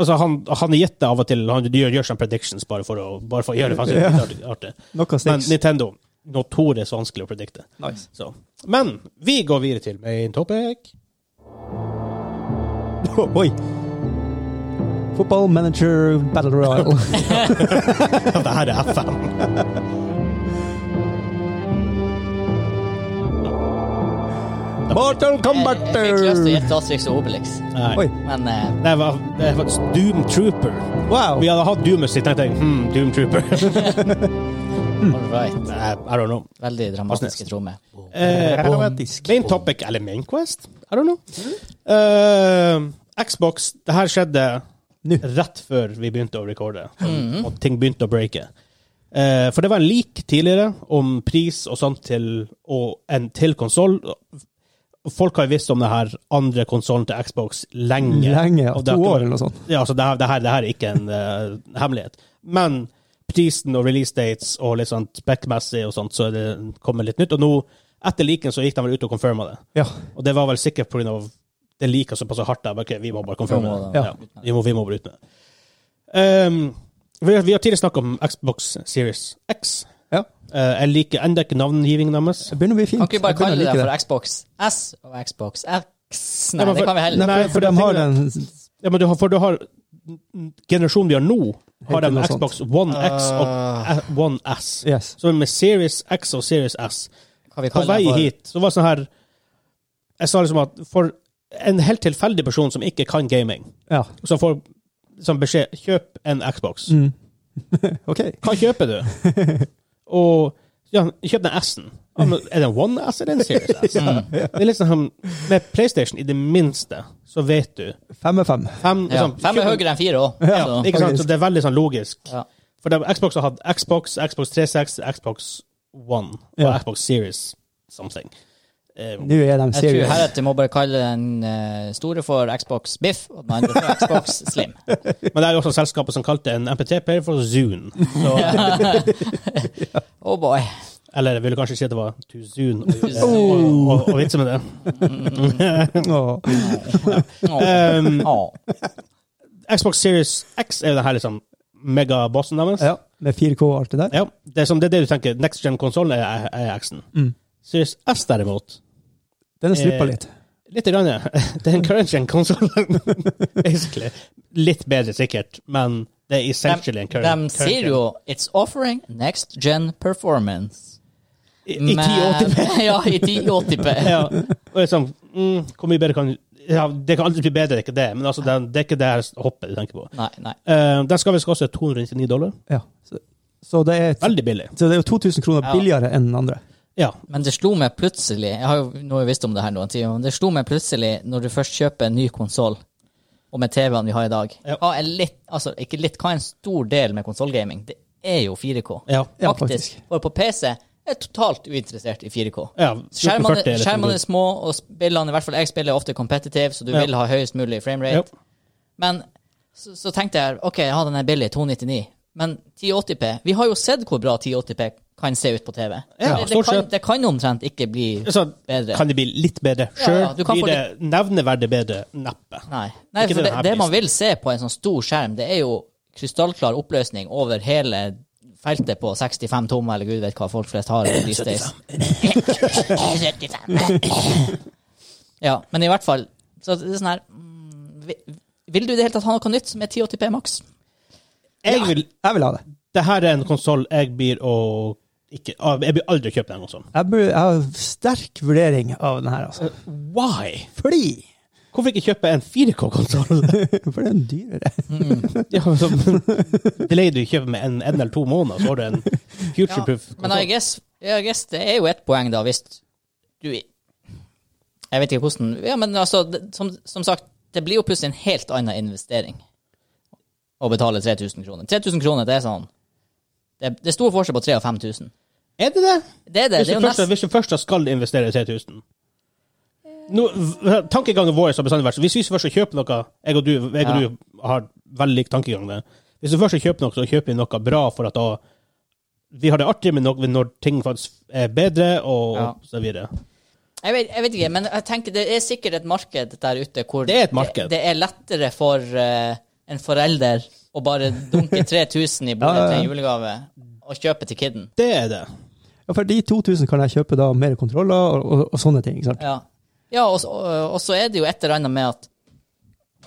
altså, han, han gjetter av og til. Han gjør, gjør sånne predictions bare for å, bare for å gjøre det faktisk Ja. litt artig. Noe Men sticks. Nintendo notorisk vanskelig å predikte. Nice. Så. Men vi går videre til main topic. Oi! Football manager battle royal. Ja, det her er FM. Mortal Jeg, Kombat! Eh, jeg fikk lyst til å gjette Asterix og Obelix, Nei. Oi. men eh, Det var, det var Doom Trooper. Wow! Vi hadde hatt Doom-musikk, tenkte jeg. Hmm, Doom Trooper. Mm. all right. Nei, I don't know. Veldig dramatiske trommer. Eh, Dramatisk. main topic, eller main quest? I don't know. Eh, Xbox, det her skjedde Nå. rett før vi begynte å rekorde, og ting begynte å breake. Eh, for det var en leak tidligere om pris og sånt til, og en til konsoll. Folk har jo visst om det her andre konsollen til Xbox lenge. Lenge, Og det to har ikke år vært- eller noe sånt. ja, altså det her, det her, det her er ikke en eh, hemmelighet. Men prisen og release dates og litt sånn spekkmessig og sånt, så er det kommer litt nytt. Og nå, etter leaken, så gikk de vel ut og confirma det. Ja. Og det var vel sikkert pga. det leaka såpass hardt. Der. Ok, vi må bare confirme Vi må det. det. Ja. Vi, må, vi må bare ut med det. Ehm, vi, har- vi har tidligere snakka om Xbox Series X. ja. Eh, jeg liker ennå ikke navngivingen deres. Det begynner å bli fint. Kan ikke vi bare Jeg begynner å kalle det like for Xbox S og Xbox X? Ja, Nei, men det for- kan vi heller Nei, ikke. Nei, for, for for de jeg har den Ja, men du har, for du har Generasjonen vi har nå, har Helt de noe Ah. Xbox One X og Ah, eh, One S. Yes. Så med Series X og Series S Kan vi på kalle vei det for- hit, så var det sånn her Jeg sa liksom at for en helt tilfeldig person som ikke kan gaming, Ja. som får som beskjed 'kjøp en Xbox', Mm. OK. hva kjøper du? Og ja, kjøp den S-en. Ja, men Er det en One S eller en Series S? Mm. Det er liksom Med PlayStation, i det minste, så vet du Fem er fem. Fem, Ja. liksom, Fem er kjøp en- høyere enn fire òg. Ja, Ikke sant? Så det er veldig sånn logisk. Ja. For det, Xbox har hatt Xbox, Xbox 36, Xbox One og Ja. Xbox Series something. Eh, Nå er de Jeg tror seriøse. heretter må bare kalle den eh, store for Xbox Biff, og den andre for Xbox Slim. Men det er jo også selskapet som kalte en MP3-player for Zune. Så, Oh boy. Eller jeg ville kanskje si at det var to Zune, og, Zune. og, og, og vitse med det. Åh. Åh. Um, Åh. Xbox Series X er jo den her liksom megabossen deres. Ja, med 4K og alt det der. Ja, det, er som, det er det du tenker. Next gen-konsollen er, er X-en. Mm. Series S, derimot Den er strippa Eh, litt. Litt grann, ja. Det er en current gen-konsoll, basically. Litt bedre, sikkert, men det er essentially en De, current de sier jo 'It's offering next gen performance'. gen. I, i 1080p. ja, i 1080p. ja. Og liksom, mm, hvor mye bedre kan ja, Det kan aldri bli bedre, det er ikke det, men altså, det, er- det er ikke det her hoppet du tenker på. Nei, nei. Eh, den skal visst koste 299 dollar. Ja. Så, så, det er, Veldig billig. så det er jo 2000 kroner Ja. billigere enn den andre. Ja. Men det slo meg plutselig Jeg har jo nå har jeg visst om det her noen timer, men det slo meg plutselig når du først kjøper en ny konsoll, og med TV-en vi har i dag Ja. ha en litt, altså ikke litt, Hva er en stor del med konsollgaming? Det er jo 4K. Ja. Ja, faktisk. faktisk. For på PC er jeg totalt uinteressert i 4K. ja Skjermene, 1440 er liksom det som skjermene går. er små, og spillene, i hvert fall jeg spiller ofte competitive, så du Ja. vil ha høyest mulig framerate. Ja. Men så, så tenkte jeg OK, ja, den er billig, 299. Men 1080P Vi har jo sett hvor bra 1080P kan se ut på TV. Ja, det, det, stort kan, sett. det kan omtrent ikke bli Altså, bedre. Kan det bli litt bedre? Ja, ja, Sjøl du kan få blir det nevneverdig bedre. Neppe. Nei. Nei Ikke for til det, denne det man prisen. vil se på en sånn stor skjerm, det er jo krystallklar oppløsning over hele feltet på 65 tommer, eller gud vet hva folk flest har. i these days. 75. ja, men i hvert fall Så det er sånn her mm, vi- Vil du i det hele tatt ha noe nytt som er 1080P maks? Jeg vil, Jeg vil ha det. det her er en konsoll jeg blir å ikke, av- Jeg blir aldri å kjøpe den konsollen. Jeg, bur- jeg har sterk vurdering av den her, altså. Eh. Why? Fordi Hvorfor ikke kjøpe en 4K-konsoll? For den er dyrere. ja, men- Delay du kjøper med en, en eller to måneder, så har du en future-proof Men I konsoll. guess, I guess det er jo ett poeng, da, hvis du Jeg vet ikke hvordan Ja, men altså, det, som, som sagt, det blir jo plutselig en helt annen investering å betale 3000 kroner. 3000 kroner, det er sånn Det, det er stor forskjell på 3000 og 5000. Er det det? Det er det. Hvis det er du jo først, nesten, hvis du først skal investere 3000 Nå, v- Tankegangen vår har bestandig vært sånn, Hvis vi først skal kjøpe noe Jeg og du, jeg og Ja. du har veldig lik tankegang. der. Hvis du først skal kjøpe noe, så kjøper vi noe bra for at da vi har det artig med noe når ting faktisk er bedre, og Ja. så videre. jeg, vet, jeg vet ikke, men jeg tenker det er sikkert et marked der ute hvor Det er et marked. Det, det er lettere for eh, en forelder å bare dunke 3000 i Ja, ja, bordet ja. til en julegave og kjøpe til kiden. Det er det. Ja, for de 2000 kan jeg kjøpe da mer kontroller og, og, og sånne ting. ikke sant? Ja, ja og, så, og så er det jo et eller annet med at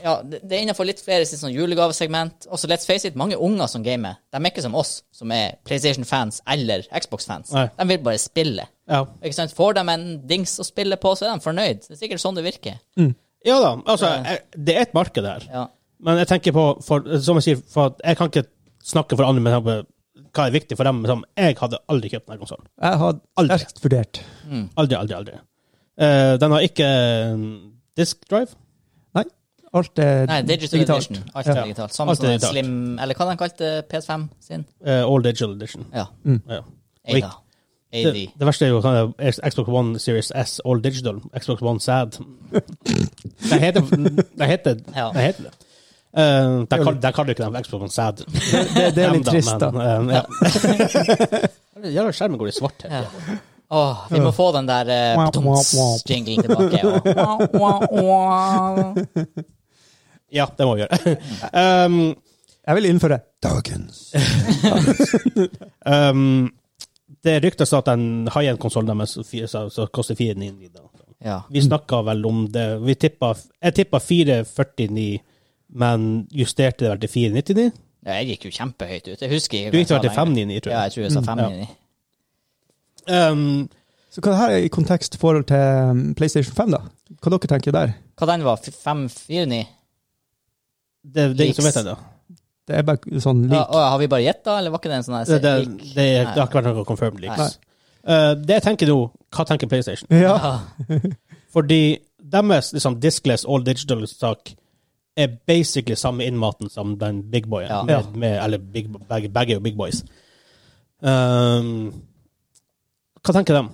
ja, det det er innenfor litt flere sitt sånn julegavesegment. Og så let's face it, mange unger som gamer, de er ikke som oss, som er PlayStation-fans eller Xbox-fans. Nei. De vil bare spille. Ja, Ikke sant? Får de en dings å spille på, så er de fornøyd. Det er sikkert sånn det virker. ja da. Altså, jeg, det er et marked her. Ja. Men jeg tenker på, for, som jeg sier, for at jeg kan ikke snakke for andre, men jeg bare- hva er viktig for dem? Som jeg hadde aldri kjøpt denne konsollen. Jeg har Aldri. sterkt vurdert. Aldri, aldri, aldri. Eh, den har ikke eh, disk drive. Nei, alt er Nei, digital digitalt. edition. Alt er Ja. digitalt. Samme Alt er som den digitalt. Slim Eller hva de kalte PS5 sin? eh, all digital edition. Ja. Ja. ADA. Det, AD. det verste er jo sånn eh, Xbox One Series S All Digital. Xbox One Sad. Det heter det. Heter, Ja. det, heter det. Eh, de kall- de kaller jo ikke den for Xbox One Sad. Det, det, det er litt trist, da. ja. Jævla skjermen går i svart. Ja. Åh, vi må få den der uh, Womp, womp, womp. jinglen tilbake. Og, womp, womp, womp. Ja, det må vi gjøre. um, Jeg vil innføre dagens. um, det ryktes at en high-end-konsollen deres fi- så- så koster 499. da. Ja. Mm. Vi snakka vel om det vi tippa, Jeg tippa 4,49, men justerte det vel til 4,99? ja, jeg gikk jo kjempehøyt ut. Jeg husker ikke. Du gikk hva vel jeg til sa lenger. 5,99, tror Ja, jeg. Mm, jeg tror jeg sa 599. Um, Så hva er det her er i kontekst i forhold til um, PlayStation 5, da? Hva dere tenker der? Hva den var? 549? det, det er ingen som vet ennå. Det er bare sånn Ja, lik. å, har vi bare gjetta, eller var ikke det en sånn her Det, det, lik? det, det Nei. har ikke vært noe confirmed leaks. Uh, det jeg tenker nå, hva tenker PlayStation? Ja. Ah, Fordi deres liksom, diskless all digital-sak er basically samme innmaten som den big boyen. Ja. Med, Ja. med, eller big, begge, begge er jo big boys. Um, hva tenker de?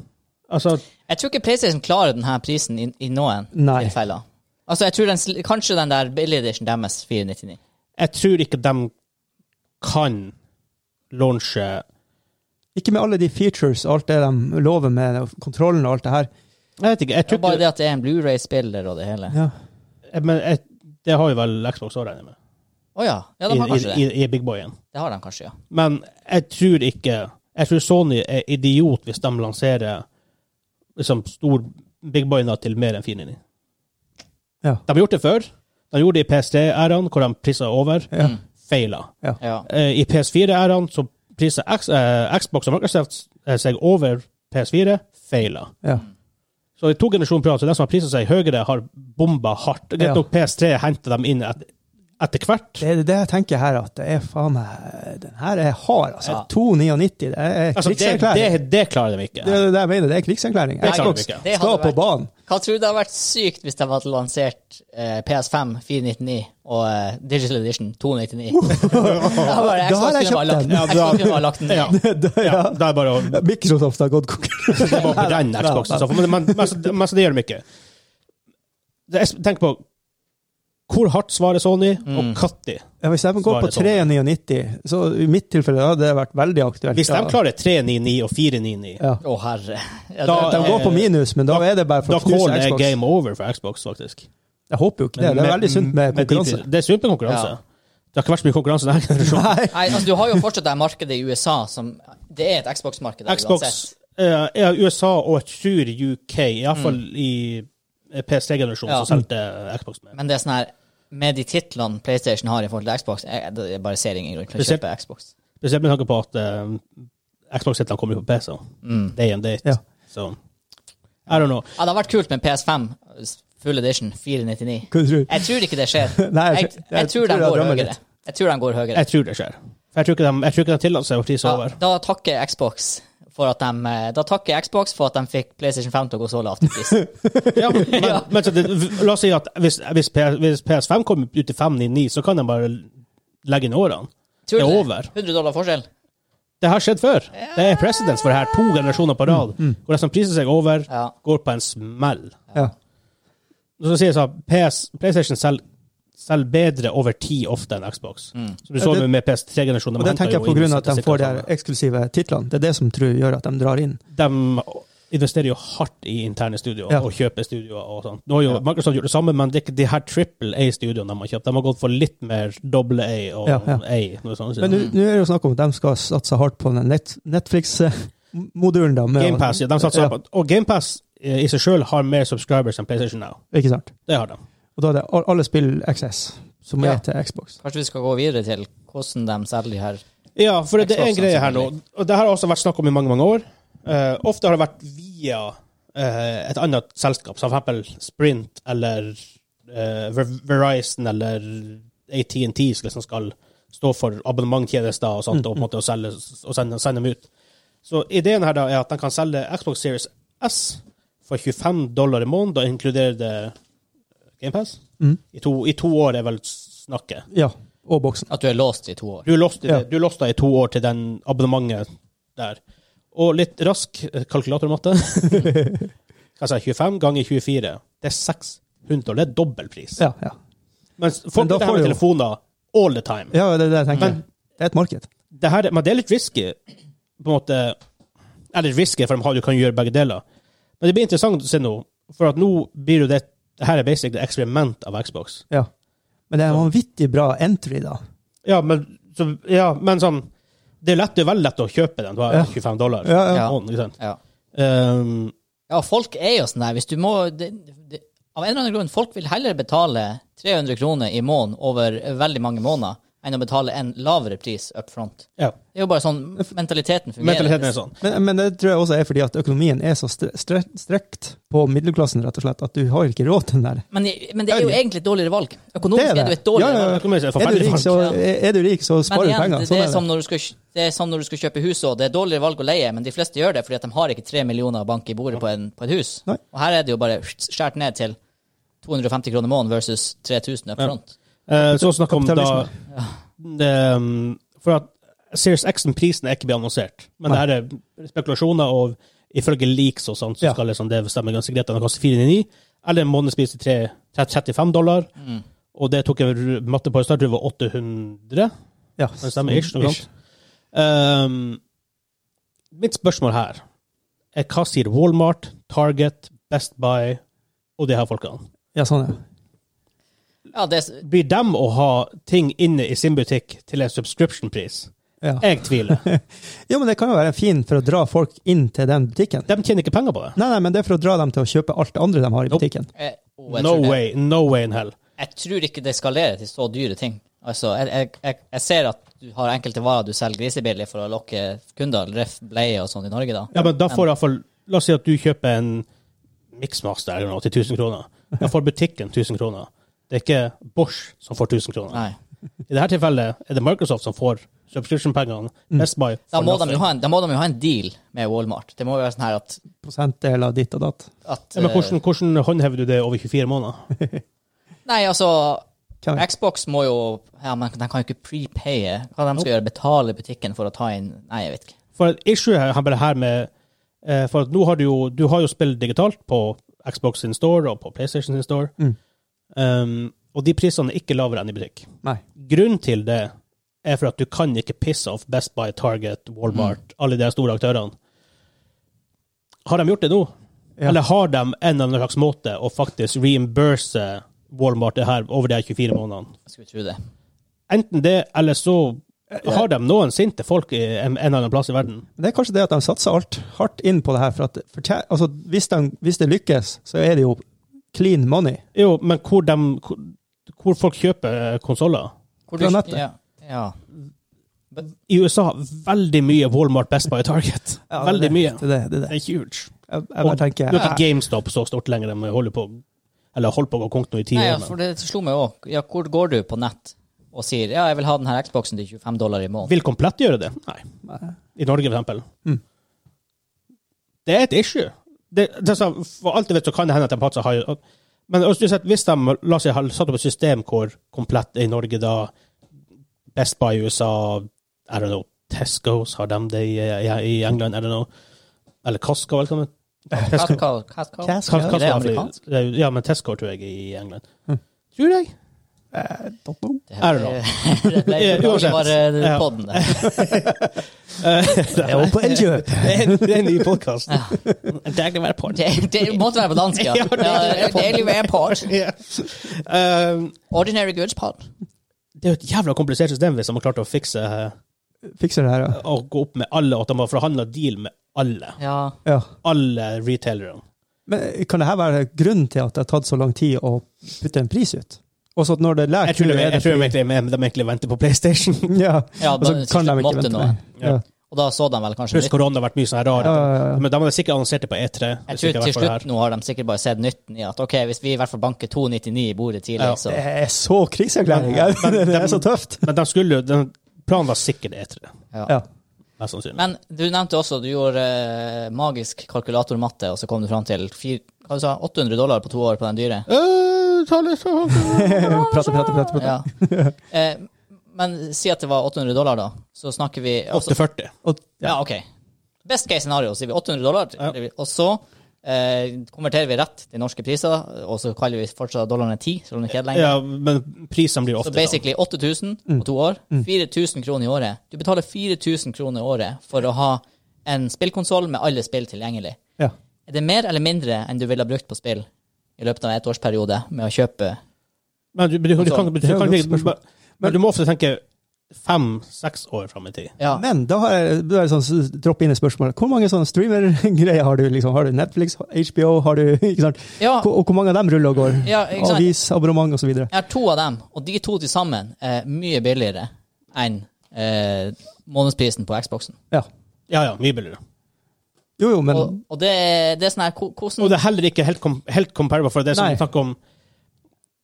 Altså, Jeg tror ikke PlayStation klarer denne prisen i, i noen Nei. tilfeller. Altså, jeg tror den, sl- Kanskje den der Billy Edition deres 499. jeg tror ikke de kan launche Ikke med alle de features og alt det de lover med kontrollen og alt det her. Jeg vet ikke. jeg tror Det er bare ikke det at det er en Blu-ray-spiller og det hele. Å ja. Ja. jeg- Men jeg, det har jo vel Xbox òg, regner jeg med. ja. de har kanskje I, det. i, i Big Boyen. Det har de kanskje, ja. Men jeg tror ikke Jeg tror Sony er idiot hvis de lanserer liksom stor Big Boy-na til mer enn 499. Ja. De har gjort det før. De gjorde det i PS3-æraen, hvor de prisa over. Ja. Mm. Feila. ja. Eh, I PS4-æraen så prisa X, eh, Xbox og Microsoft eh, seg over PS4. Feila. Ja. Så i to generasjoner på rad, så de som har prisa seg høyere, har bomba hardt. Greit Ja. nok PS3 henter dem inn et, etter hvert. Det er det jeg tenker her, at det er faen meg Den her er hard, altså. Ja. 2,99. Det er Altså, det, det, krigserklæring. det klarer de ikke. Det er det jeg mener, det er krigserklæring. Det klarer vi Xbox ikke. Det skal hadde på vært- banen. Hva tror du det hadde vært sykt hvis de hadde lansert eh, PS5 499 og eh, Digital Edition 299? da Da hadde jeg kjøpt den. Ja, da- Xbox kunne bare lagt den ned. Ja. Ja, ja. det er bare å Microsoft har gått konkurranse. det er bare å brenne Xboxen. Så, men, men, men, altså, det- men altså, det gjør de ikke. Det, jeg tenker på hvor hardt svarer Sony, og Mm. når. Ja, hvis de går på Svaret sånn. 3,99, så i mitt tilfelle da, det hadde det vært veldig aktuelt. Hvis de Ja. klarer 399 og 499, ja. Å, herre. Ja, Da- De det- går på minus, men eh, da er det bare for da å knuse caller jeg Xbox. game over for Xbox, faktisk. Jeg håper jo ikke det. Det er veldig sunt med de konkurranse. priser- Det er sunt med konkurranse. Ja. Det har ikke vært så mye konkurranse denne generasjonen. Nei. Nei, altså, du har jo fortsatt det her markedet i USA som Det er et Xbox-marked der Xbox, uansett. eh, ja, USA og jeg tror UK, iallfall i eh, Mm. PC-generasjonen, Ja. så solgte Xbox med. Men det er sånn her Med de titlene PlayStation har i forhold til Xbox, jeg, det- jeg bare ser ingen grunn til å Spesielt- kjøpe Xbox. Spesielt med tanke på at eh, Xbox-titlene kommer jo på PC. Mm. Day and date. Ja. Så I don't know. Ja, det hadde vært kult med PS5 full edition 499. Hva tror du? Jeg tror ikke det skjer. Nei, Jeg, jeg tror de jeg går drømmer høyere. litt. Jeg tror de går høyere. Jeg tror det skjer. For jeg tror ikke de, jeg tror ikke de tillater seg å prise Da, over. da takker Xbox for at de eh, Da takker Xbox for at de fikk PlayStation 5 til å gå så lavt i pris. Ja, men, men så det, la oss si at hvis, hvis, PS, hvis PS5 kommer ut til 599, så kan de bare legge inn årene. Tror du Det er det? over. 100 dollar forskjell. Det har skjedd før. Det er presedens for det her. To generasjoner på rad. Mm. Hvor de som priser seg over, Ja. går på en smell. Ja. Så sier jeg sånn, PS, PlayStation selger selger bedre over tid ofte enn Xbox. Så du så Mm. Ja, det- med PS3-generasjonen. Og det tenker jeg på grunn av at de får de her eksklusive titlene. Det er det som tror gjør at de drar inn. de investerer jo hardt i interne studioer Ja. og kjøper studioer og sånt. Nå har jo Microsoft gjort det samme, men det er ikke de her triple A-studioene de har kjøpt. De har gått for litt mer doble A og Ja, ja. A. Noe sånt. Men nå nå er det jo snakk om at de skal satse hardt på den Net Netflix-modulen, da. med- GamePass, ja, de satser Ja, på Og GamePass i seg sjøl har mer subscribers enn PlayStation Now. Ikke sant. Det har de. Og da er det al- alle spill XS, som Ja. er til Xbox. Kanskje vi skal gå videre til hvordan de selger de her. Ja, for det, det er en Xbox, greie her nå, sannsynlig. og det her har også vært snakk om i mange, mange år. Eh, ofte har det vært via eh, et annet selskap, som for eksempel Sprint eller eh, Ver- Verizon eller AT&T som liksom skal stå for abonnementtjenester og sånt, og på en måte å selge og sende, sende dem ut. Så ideen her da er at de kan selge Xbox Series S for 25 dollar i måneden, da inkluderer det GamePass. Mhm. I, to, I to år er vel snakket. Ja. Og boksen. At du er låst i to år. Du er lost i, Ja. det. du er lost da i to år til den abonnementet der. Og litt rask eh, kalkulatormatte. Hva sa jeg? 25 ganger 24. Det er 600. Det er dobbel pris. Ja, ja. Mens Men folk da får det du her med jo- telefoner all the time. ja, det er det jeg tenker. Men- Det er et marked. Det her, men det er litt risky, på en måte. Eller risky, for de har- du kan gjøre begge deler. Men det blir interessant å se nå, for at nå blir jo det det her er basically et eksperiment av Xbox. Ja. Men det er en vanvittig bra entry, da. Ja, men, så, ja, men sånn Det er lett, det er veldig lett å kjøpe den. Du har Ja. 25 dollar. Ja, ja. Måneden, ikke sant? Ja. Um, ja, folk er jo sånn der. Hvis du må det, det, Av en eller annen grunn, folk vil heller betale 300 kroner i måneden over veldig mange måneder enn å betale en lavere pris up front. ja. Det er jo bare sånn mentaliteten fungerer. Mentaliteten er sånn. Men, men det tror jeg også er fordi at økonomien er så stre stre strekt på middelklassen, rett og slett, at du har ikke råd til den der. Men, men det er jo egentlig et dårligere valg. Økonomisk Det er er det det. jo et Ja, dårligere ja, valg. ja. Jeg kommer til å Er si du forferdelig rik, folk. så, er, er du rik, så Men sparer du igjen, penger. det, Sånn er som når du skal, kj- det er som når du skal kjøpe hus òg. Det er dårligere valg å leie, men de fleste gjør det fordi at de har ikke tre millioner å banke i bordet på, en, på et hus. Nei. Og her er det jo bare skjært ned til 250 kroner måneden versus 3000 up Ja. front. Eh, Så snakk om da Ehm, Kapitalisme. um, For at Series X-prisen er ikke blitt annonsert, men Nei. det her er spekulasjoner og ifølge leaks og sånt, så Ja. skal liksom det stemme ganske greit. Den koster 499, eller en månedspris til tre- tre- 35 dollar. Mm. Og det tok en ru- matte på i starten, det var 800. Ja. Det stemmer ish, noe sånt. Um, mitt spørsmål her er hva sier Walmart, Target, Best Buy og de her folkene? Ja, sånn, ja. Ja, det, er s- Blir dem å ha ting inne i sin butikk til en subscription-pris? Ja. Jeg tviler. Jo, men det kan jo være en fin for å dra folk inn til den butikken. De tjener ikke penger på det. Nei, nei, men det er for å dra dem til å kjøpe alt det andre de har i Nope. butikken. eh, oh, jeg, No tror jeg, way, no way in hell. jeg tror ikke det skalerer til så dyre ting. Altså, jeg, jeg, jeg, jeg ser at du har enkelte varer du selger grisebillig for å lokke kunder, ref. bleie og sånt i Norge, da. Ja, men da får i hvert fall La oss si at du kjøper en Mixmaster eller noe til 1000 kroner. Da får butikken 1000 kroner. Det er ikke Bosch som får 1000 kroner. Nei. I dette tilfellet er det Microsoft som får subscription-pengene. Best Buy Mm. Da får må, de nothing. jo ha en, da må de jo ha en deal med Walmart. Det må jo være sånn her at, Prosentdeler ditt og datt. at ja, men eh, hvordan, hvordan håndhever du det over 24 måneder? Nei, altså Hvem er- Xbox må jo ja, men De kan jo ikke prepaye. Hva de skal gjøre? Betale butikken for å ta inn Nei, jeg vet ikke. For et issue her, her her med eh, For at nå har du jo Du har jo spill digitalt på Xbox sin store og på PlayStation sin store. Mm. Um, og de prisene er ikke lavere enn i butikk. Nei. Grunnen til det er for at du kan ikke pisse off Best Buy, Target, Walmart, Mm. alle de store aktørene. Har de gjort det nå? Ja. Eller har de en eller annen slags måte å faktisk reimburse Walmart det her over de her 24 månedene? Jeg skulle tro det. Enten det, eller så har de noen sinte folk i en en eller annen plass i verden. Men Det er kanskje det at de satser alt hardt inn på det her. For at fortje- altså, hvis, de, hvis det lykkes, så er det jo clean money. Jo, men hvor, de, hvor, hvor folk kjøper konsoller? Hvor Fra nettet. Ja, ja. I USA veldig mye Walmart, Best Buy, Target. Ja, veldig det, mye. Det, det, det, det. Det er huge. Jeg, jeg bare Nå er tenker ikke GameStop så stort lenger. De holder på eller holdt på å gå konk nå i ti Nei, ja, år. for men det slo meg òg. Ja, hvor går du på nett og sier ja, jeg vil ha den her Xboxen til 25 dollar i måneden? Vil Komplett gjøre det? Nei. I Norge, for eksempel. Mm. Det er et issue. Det, det, er sånn, for alt jeg vet, så kan det hende at de patser har Men også, sett, hvis de la oss si, har satt opp et system hvor Komplett er i Norge, da Best Buy i USA I don't know, Tesco's har de det i, i, i England, I don't know. Eller Costco, velkommen. Tesco. Kaskal, kaskal. Kaskal. Kas- Costco Er det er amerikansk? Mm. fordi- det er- Ja, men Tesco tror jeg er i England. Tror jeg. Eh, jeg Det I don't know. ble- det ble Ja, uansett. bare Ja. podden, det. er oppe på Elkjøp! Det er en, det er en ny podkast. Daglig være på Det, det måtte være på dansk, ja. Ja, det- ja Daily Airport. Ja. Ehm, Ordinary Goods Pod. det er jo et jævla komplisert system hvis de har klart å fikse eh, Fikser det her, ja. å gå opp med alle, og at de har forhandla deal med alle. Ja. ja. Alle retailerne. Men eh, kan det her være grunnen til at det har tatt så lang tid å putte en pris ut? Også at når det er lært Jeg tror, de, er det jeg tror de, fordi- egentlig, de, egentlig venter på PlayStation. Ja, Ja, og så da- kan de ikke måtte vente nå. mer. Ja. Ja. Og da så de vel kanskje Pluss nytt. korona har vært mye sånn her rar. Ja, ja, ja. Men de hadde sikkert annonsert det på E3. Jeg hvis tror ikke til det hadde vært for det slutt nå har de sikkert bare sett nytten i at ok, hvis vi i hvert fall banker 299 i bordet tidlig, Ja. så Det er så krigserklæring! Det er så tøft! her. Men de skulle, jo- den planen var sikkert E3. Ja. Mest sannsynlig. Men du nevnte også du gjorde eh, magisk kalkulatormatte, og så kom du fram til fire, hva du sa, 800 dollar på to år på den dyre. Øh, Prate, prate, prate. prate. Ja. Eh, men si at det var 800 dollar, da. Så snakker vi altså, 840. Og, ja. ja. OK. Best case scenario sier vi 800 dollar, og så eh, konverterer vi rett til norske priser, og så kaller vi fortsatt dollarene 10, så den er kjedelig lenger. Ja, men prisene blir ofte Så basically 8000 på to år. 4000 kroner i året. Du betaler 4000 kroner i året for å ha en spillkonsoll med alle spill tilgjengelig. ja. Er det mer eller mindre enn du ville ha brukt på spill i løpet av en ettårsperiode med å kjøpe Men du, du, Altså, du, kan, du, Det er jo kan, et godt men, spørsmål. men du må ofte tenke fem-seks år fram i tid. Ja. Men da har jeg da er det sånn, dropp inn et spørsmål. Hvor mange sånne streamergreier har du? liksom? Har du Netflix, HBO, har du, ikke sant? ja, Hvor- Og hvor mange av dem ruller og går? ja ikke sant? Avis, abonnement osv. Jeg har to av dem, og de to til sammen er mye billigere enn eh, månedsprisen på Xboxen. Ja. Ja, ja, mye billigere. Jo, jo, men Og, og det, det er sånn her ko- Og Hvordan det er heller ikke helt, kom, helt comparable, for det er Nei. sånn snakk om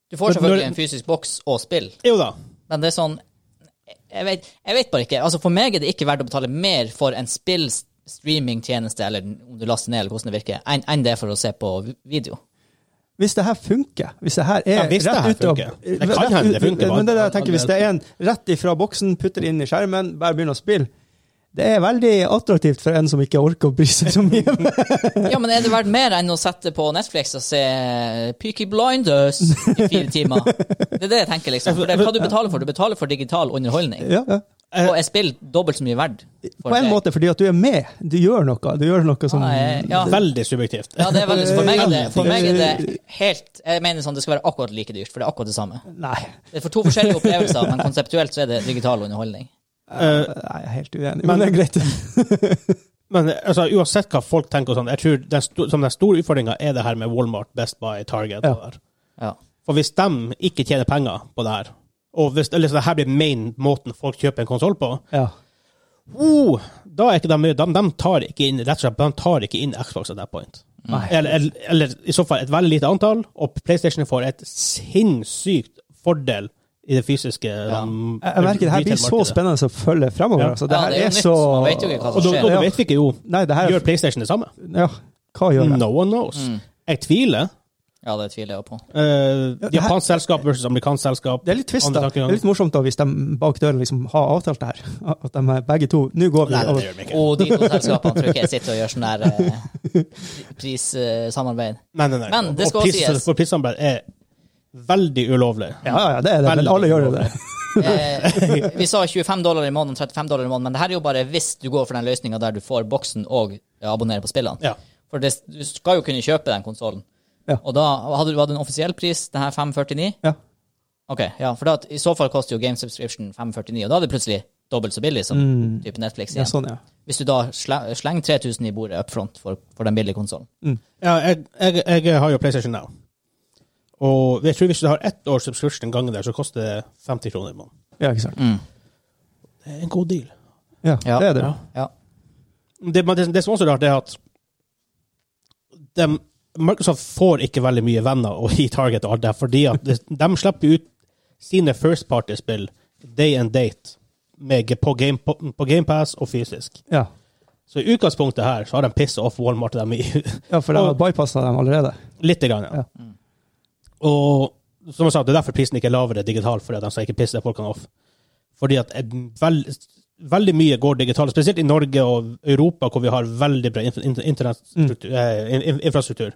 Du får Men selvfølgelig når- en fysisk boks og spill, Jo da. men det er sånn Jeg vet, jeg vet bare ikke. Altså For meg er det ikke verdt å betale mer for en spill-streamingtjeneste, eller om du laster ned, eller hvordan det virker, enn enn det er for å se på vi- video. hvis det her funker Hvis det her er Ja, hvis det her rett ut av- funker. Det kan rett hende ut- det funker, Men det er det jeg bare. tenker, hvis det er en rett ifra boksen, putter inn i skjermen, bare begynner å spille Det er veldig attraktivt for en som ikke orker å bry seg så mye. Ja, men er det verdt mer enn å sette på Netflix og se Peaky Blinders i fire timer? Det er det jeg tenker, liksom. For det er hva du betaler for. Du betaler for digital underholdning. ja, ja. Og er spill dobbelt så mye verd. for På en deg. måte fordi at du er med. Du gjør noe. Du gjør noe som Ja, jeg- ja. Veldig subjektivt. Ja, det er veldig, for, meg er det, for meg er det helt Jeg mener sånn, det skal være akkurat like dyrt, for det er akkurat det samme. Nei, Det er for to forskjellige opplevelser, men konseptuelt så er det digital underholdning. Eh, Nei, jeg er helt uenig. Men- Men det er greit. Men altså, uansett hva folk tenker, og sånn, jeg tror den, sto- som den store utfordringa er det her med Walmart, Best Buy, Target. Ja. og der. Ja. For hvis de ikke tjener penger på det her, og hvis eller, så det her blir main måten folk kjøper en konsoll på, Ja. oh, da er ikke de, de, de tar ikke inn rett og slett, de tar ikke inn Xbox at that point. Nei. Eller, eller, eller i så fall et veldig lite antall, og PlayStation får et sinnssykt fordel i det fysiske sånn, Jeg, jeg merker det her blir så retail-markedet. spennende å følge fremover. Ja. Altså. Det Ja, her det er jo er nytt, så man vet jo ikke hva som Og da, skjer. da vet vi ikke jo Nei, det her Gjør PlayStation det samme? Ja, hva gjør det? No one knows. Mm. Jeg tviler. Ja, det tviler jeg på. Eh, det her- japansk selskap versus amerikansk selskap. Det er litt twist, da. Andre Det tankegang. er litt morsomt da, hvis de bak døren liksom har avtalt det her. At de er begge to Nå går vi Nei, nei, det over. gjør vi ikke. Og de to selskapene tror jeg ikke jeg sitter og gjør sånn der eh, prissamarbeid. Nei, nei, nei. Men det skal og også piss, sies. For pissanbrenn er veldig ulovlig. Ja, ja, det er det. Men Veldig alle gjør jo det. Eh, vi sa 25 dollar i måneden, 35 dollar i måneden, men det her er jo bare hvis du går for den løsninga der du får boksen og abonnerer på spillene. Ja. For det, du skal jo kunne kjøpe den konsollen. Ja. Og da hadde du hatt en offisiell pris, den her 549. Ja. Ok, ja, for da, i så fall koster jo game subscription 549, og da er det plutselig dobbelt så billig som type Netflix Ja, igjen. sånn, ja. Hvis du da sle- slenger 3000 i bordet up front for, for den billige konsollen. Ja, jeg, jeg, jeg har jo PlayStation Now. Og jeg tror hvis du har ett års subscription gangen der, så koster det 50 kroner i måneden. ja, ikke sant. Det er en god deal. Ja, Ja. det er det. Ja. Ja. Det, men det, det som også er rart, er at dem- Microsoft får ikke veldig mye venner og i Target og alt det, her, fordi at det, de slipper ut sine first party-spill day and date med, på Game- på på GamePass og fysisk. Ja, Så i utgangspunktet her så har de pissa off Walmart og dem i ja for de har bypassa dem allerede. lite grann. Ja. Ja. Og som jeg sa, det er derfor prisen ikke er lavere digitalt, fordi at de skal ikke pisse folkene off. Fordi at en veld, veldig mye går digitalt, spesielt i Norge og Europa, hvor vi har veldig bred inf- inter- internettstruktur- eh, in- in- infrastruktur.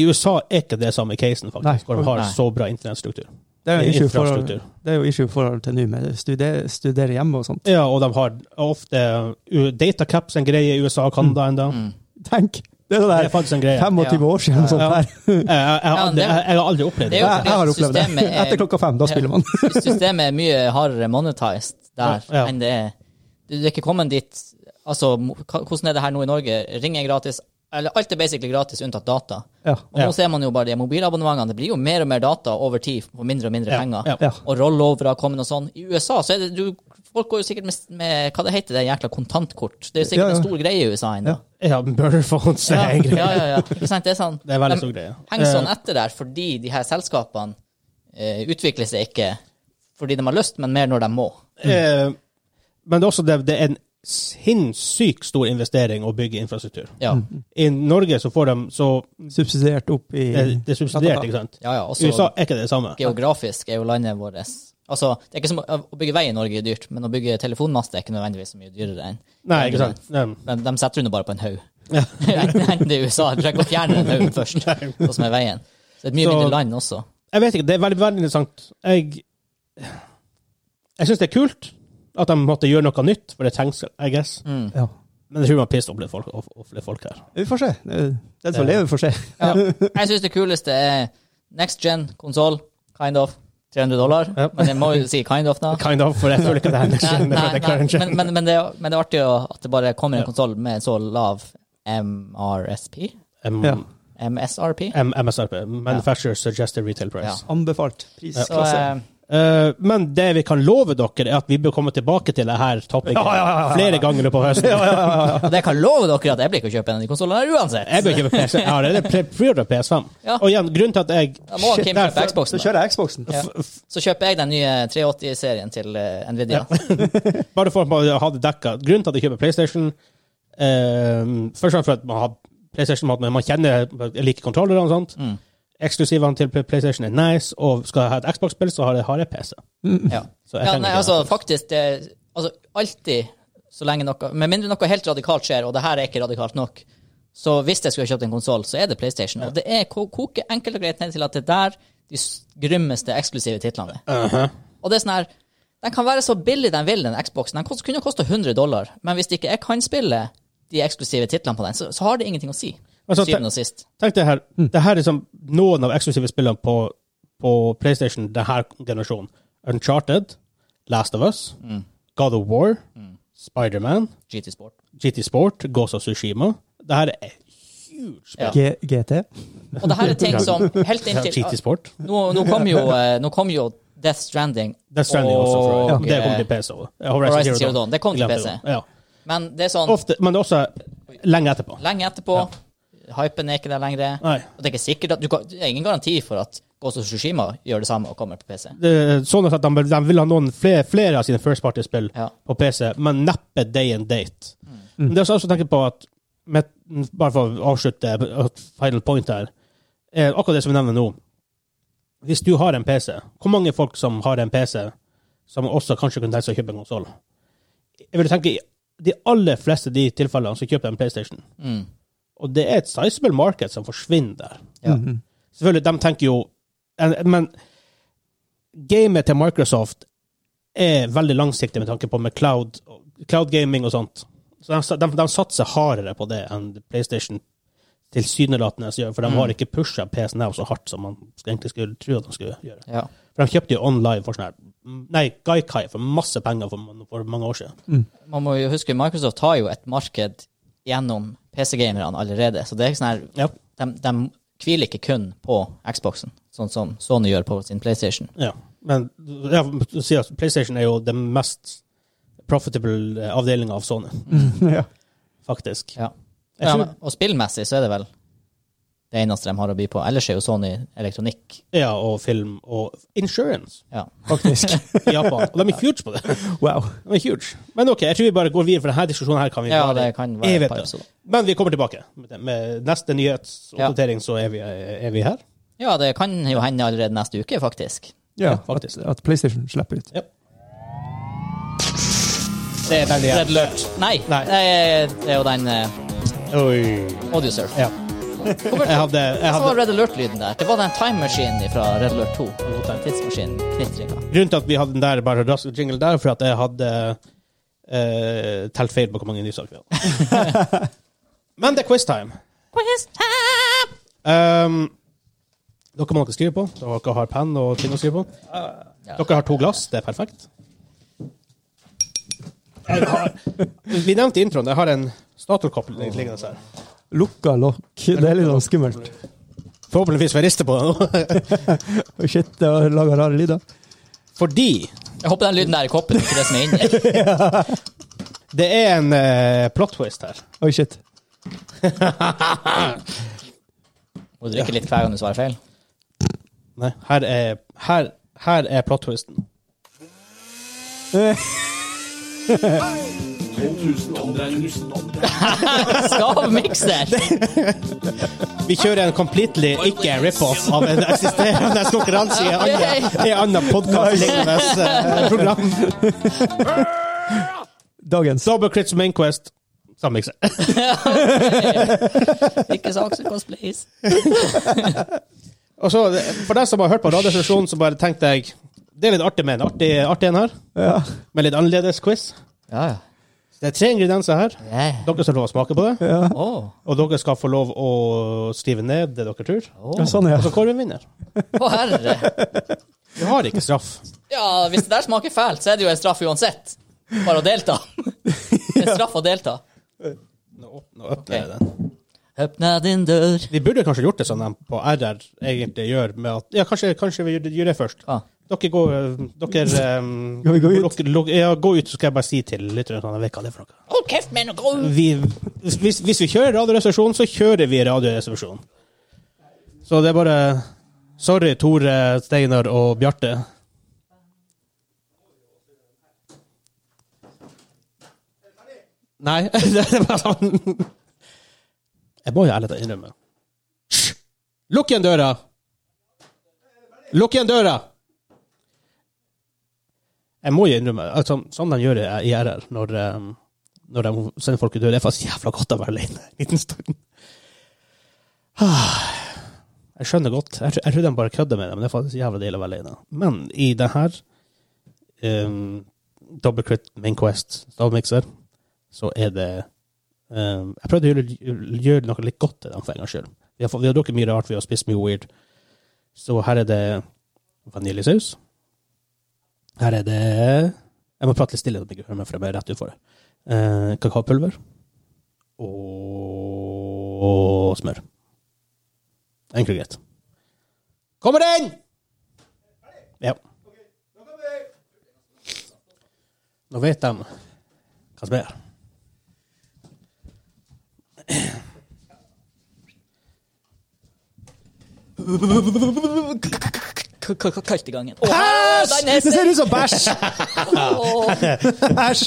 I USA er ikke det samme casen, faktisk, Nei. hvor de har Nei. så bra internettstruktur. Det er jo issue i forhold- Infrastruktur. det er jo issue i forhold til nå, med studere, studere hjemme og sånt. Ja, og de har ofte u- data caps en greie i USA og Canada ennå. Mm. Tenk! Det er Det det er der faktisk en greie. 25 Ja. år siden sånt Ja. her. Jeg, jeg, jeg, har Ja, men aldri- det- jeg, jeg har aldri opplevd Det det. er jo Jeg, fordi jeg har at opplevd det. systemet er- Etter klokka fem, da spiller man. Systemet er mye hardere monetized der Ja, ja. enn det er. Du er ikke kommet dit Altså, mo- hva- hvordan er det her nå i Norge? Ring er gratis. Eller alt er basically gratis, unntatt data. Ja. Og nå Ja. ser man jo bare de mobilabonnementene. Det blir jo mer og mer data over tid for mindre og mindre Ja, penger. ja. Ja. Og rollover har kommet og sånn. I USA så er det du, Folk går jo sikkert med, med hva det heter det jækla kontantkort. Det er jo sikkert Ja, ja. en stor greie i USA ennå. Ja. Ja, burner phones er Ja, en greie. ja, ja, ja. Ikke sant? Det er sånn. Det er veldig De stor greie. henger sånn etter der fordi de her selskapene eh, utvikler seg ikke fordi de har lyst, men mer når de må. Eh, men det er også det, det er en sinnssykt stor investering å bygge infrastruktur. Ja, I Norge så får de så eh, Subsidiert opp i Det, det er subsidiert, ikke sant? ja, ja. I USA Også er ikke det det samme. geografisk er jo landet vårt Altså, det er ikke som å å bygge vei i Norge er dyrt, men å bygge telefonmast er ikke nødvendigvis så mye dyrere enn Nei, ikke sant? Nei. De, de setter henne bare på en haug. Enten det er USA, du trenger ikke å fjerne den haugen først. Sånn som er veien. Så det er et mye Så- mindre land også. Jeg vet ikke, det er veldig, veldig interessant. Jeg, jeg syns det er kult at de måtte gjøre noe nytt, for det trengs, I guess. Mm. Ja. Men jeg tror man pissed opp litt folk, off, off litt folk her. Vi får se. Den som Ja. lever, får se. Ja. Jeg syns det kuleste er next gen-konsoll, kind of. 300 dollar. Ja. Men jeg må jo si kind of, da. Kind of, for jeg føler ikke det er next Nei, gen. nei, det nei, er current gen. Men, men, men, det, er- men det er artig å- at det bare kommer en Ja. konsoll med så lav MRSP? M- Ja. MSRP? M- MSRP. Manufacturer Suggested Retail Price. Ja. Anbefalt pris. Så, eh, Eh, men det vi kan love dere, er at vi bør komme tilbake til det her topicet Ja, ja, ja, ja, ja. flere ganger på høsten. og det kan love dere at jeg blir ikke å kjøpe en av de konsollene her uansett. Jeg bør kjøpe PS5. Jeg har allerede pre- preorder PS5. Ja. Og igjen, grunnen til at jeg Da må Shit, Kim der- kjøpe Xboxen. Så Da. kjører jeg Xboxen. Ja. Så kjøper jeg den nye 380-serien til eh, Nvidia. Bare for å ha det dekka. Grunnen til at jeg kjøper PlayStation eh, Først og fremst for at man har PlayStation, man- man kjenner jeg liker kontrollerne og sånt. Mm. Eksklusivene til PlayStation er nice, og skal jeg ha et Xbox-spill, så har jeg, har jeg PC. Ja. Så jeg Ja, trenger nei, ikke- altså, faktisk det, altså, Alltid så lenge noe Med mindre noe helt radikalt skjer, og det her er ikke radikalt nok, så hvis jeg skulle ha kjøpt en konsoll, så er det PlayStation. Og det er ko- koker enkelt og greit ned til at det er der de s- grymmeste eksklusive titlene er. Og det er sånn her Den kan være så billig den vil, den Xboxen. Den kost, kunne koste 100 dollar, men hvis ikke jeg kan spille de eksklusive titlene på den, så, så har det ingenting å si. Altså, til syvende og sist. Tenk det her. Mm. Det her er som noen av eksklusive spillene på, på PlayStation denne generasjonen. Uncharted, Last of Us, Mm. God of War, Spiderman, GT Sport. GT Sport, Ghost of Tsushima. Det her er huge. Ja. G GT. Og det her er ting som helt inntil GT Sport. Nå, nå kom jo, eh, nå kom jo Death Stranding. Det er Stranding også, tror jeg. Og, Det kommer eh, til PC også. Horizon, Horizon Zero Dawn. Det kom til Glemte PC. det. Ja. Men det er sånn Ofte, men det er også lenge etterpå. lenge etterpå. Hypen er ikke der lenger. Nei. Og det er ikke sikkert at du kan, Det er ingen garanti for at Ghost of Tsushima gjør det samme og kommer på PC. Det er sånn at de, de vil ha noen flere, flere av sine first party-spill Ja. på PC, men neppe day and date. Men det er også å tenke på at med, Bare for å avslutte et final point her. Er akkurat det som vi nevner nå. Hvis du har en PC, hvor mange folk som har en PC, som også kanskje kunne tenkt seg å kjøpe en konsoll? Jeg vil tenke i de aller fleste de tilfellene som kjøper en PlayStation. Mm. Og det er et sizable market som forsvinner der. Ja. Mhm. Selvfølgelig, de tenker jo en- Men gamet til Microsoft er veldig langsiktig med tanke på med cloud, cloud gaming og sånt. Så de, de, de satser hardere på det enn PlayStation tilsynelatende gjør, for de har ikke pusha PC Now så hardt som man egentlig skulle tro at de skulle gjøre. Ja. For de kjøpte jo OnLive for sånn her Nei, Gaikai for masse penger for, for mange år siden. Man må jo huske Microsoft har jo et marked gjennom PC-gamerne allerede. Så det er ikke sånn her Ja. de, de hviler ikke kun på Xboxen, sånn som Sony gjør på sin PlayStation. Ja, men ja, du sier at PlayStation er jo den mest profitable avdelinga av Sony, Mm. ja. faktisk. Ja. Jeg Ja, tror- men, og spillmessig så er det vel det eneste de har å by på. Ellers er jo Sony elektronikk. Ja, og film og insurance Ja. Faktisk. i Japan. Og de er huge på det. Wow. De er huge. Men ok, jeg tror vi bare går videre, for denne diskusjonen her kan vi ja, bare det kan være evigheter. et par episoder. Men vi kommer tilbake. Med det- Med neste nyhetsoppdatering så er vi, er vi her. Ja, det kan jo hende allerede neste uke, faktisk. Ja, faktisk. at, at PlayStation slipper ut. Det er den igjen. Red Alert. Nei, Nei. Det, er, det er jo den eh, Oi. Audiosurf. Ja. Jeg hadde, jeg Hva var hadde Red Alert-lyden der? Det var den time-maskinen fra Red Alert 2. godt tenkt. Tidsmaskinen. Knitringa. Grunnen til at vi hadde den der bare rask jingle der, for at jeg hadde eh, telt feil på hvor mange nysaker vi hadde. Men det er quiztime. Um, dere må noe å skrive på. Dere har penn og ting å skrive på. Ja. Dere har to glass. Det er perfekt. Jeg har, vi nevnte i introen. Jeg har en Statoil-kopp liggende her. Lukka lokk. Det er litt sånn skummelt. Forhåpentligvis får jeg riste på den nå. Oi, Shit, det har laga rare lyder. Fordi Jeg håper den lyden der i koppen ikke det som er inni. det er en eh, plot twist her. Oi, shit. Må du drikke litt hver gang du svarer feil. Nei, her er, her, her er plot twisten. 2000 omdreininger. Stavmikser! Vi kjører en completely ikke rip-off av en eksisterende konkurranse i andre, i andre podkast-lignende eh, program. Dagens. Double crits main quest. Samme mikse. Ikke saksøk oss, please. Og så, for deg som har hørt på radiostasjonen, så bare tenkte jeg det er litt artig med en artig, artig en her, Ja. med litt annerledes quiz. Ja, Det er tre ingredienser her. ja. Dere skal få lov å smake på det, ja. Åh. og dere skal få lov å skrive ned det dere tror. Åh. ja sånn, ja. Og så kårer vi en vinner. Å, herre. Vi har ikke straff. Ja, hvis det der smaker fælt, så er det jo en straff uansett. Bare å delta. En straff å delta. Nå åp- nå åpner jeg den. Åpna din dør. Vi burde kanskje gjort det sånn de på RR egentlig gjør, med at Ja, kanskje, kanskje vi gjør det- gjør det først. Ah. Dere går eh, Dere um, Skal vi gå ut? Dere, luk- ja, gå ut, så skal jeg bare si til lytterne at jeg vet hva det er for noe. Hold kjeft med noe grov. vi, hvis, hvis vi kjører radioreservasjon, så kjører vi radioreservasjon. Så det er bare Sorry, Tore, Steinar og Bjarte. Nei, det er bare sånn Jeg må jo ærlig talt innrømme Hysj! Lukk igjen døra! Lukk igjen døra! Jeg må jo innrømme altså, Sånn de gjør det i RR, når um, når de sender folk ut. Det er faktisk jævla godt å være alene en liten stund. Ah, Jeg skjønner godt. Jeg, tror- jeg tror de bare kødder med det, men det er faktisk jævla deilig å være alene. Men i det her um, Double Crit Main Quest stavmikser, så er det um, Jeg prøvde å gjøre, gjøre noe litt godt til dem for en gangs skyld. Vi har, fått- vi har drukket mye rart, vi har spist mye weird. Så her er det vaniljesaus. Her er det Jeg må prate litt stille, så de ikke hører meg, for jeg ble rett utfor det. Eh, kakaopulver. Og smør. Enkelt og greit. Kommer den! Ja. Nå vet de hva som er. K- k- k- Kaldt i gangen. Åh, den er Æsj! Det ser ut som bæsj! Åh. Æsj!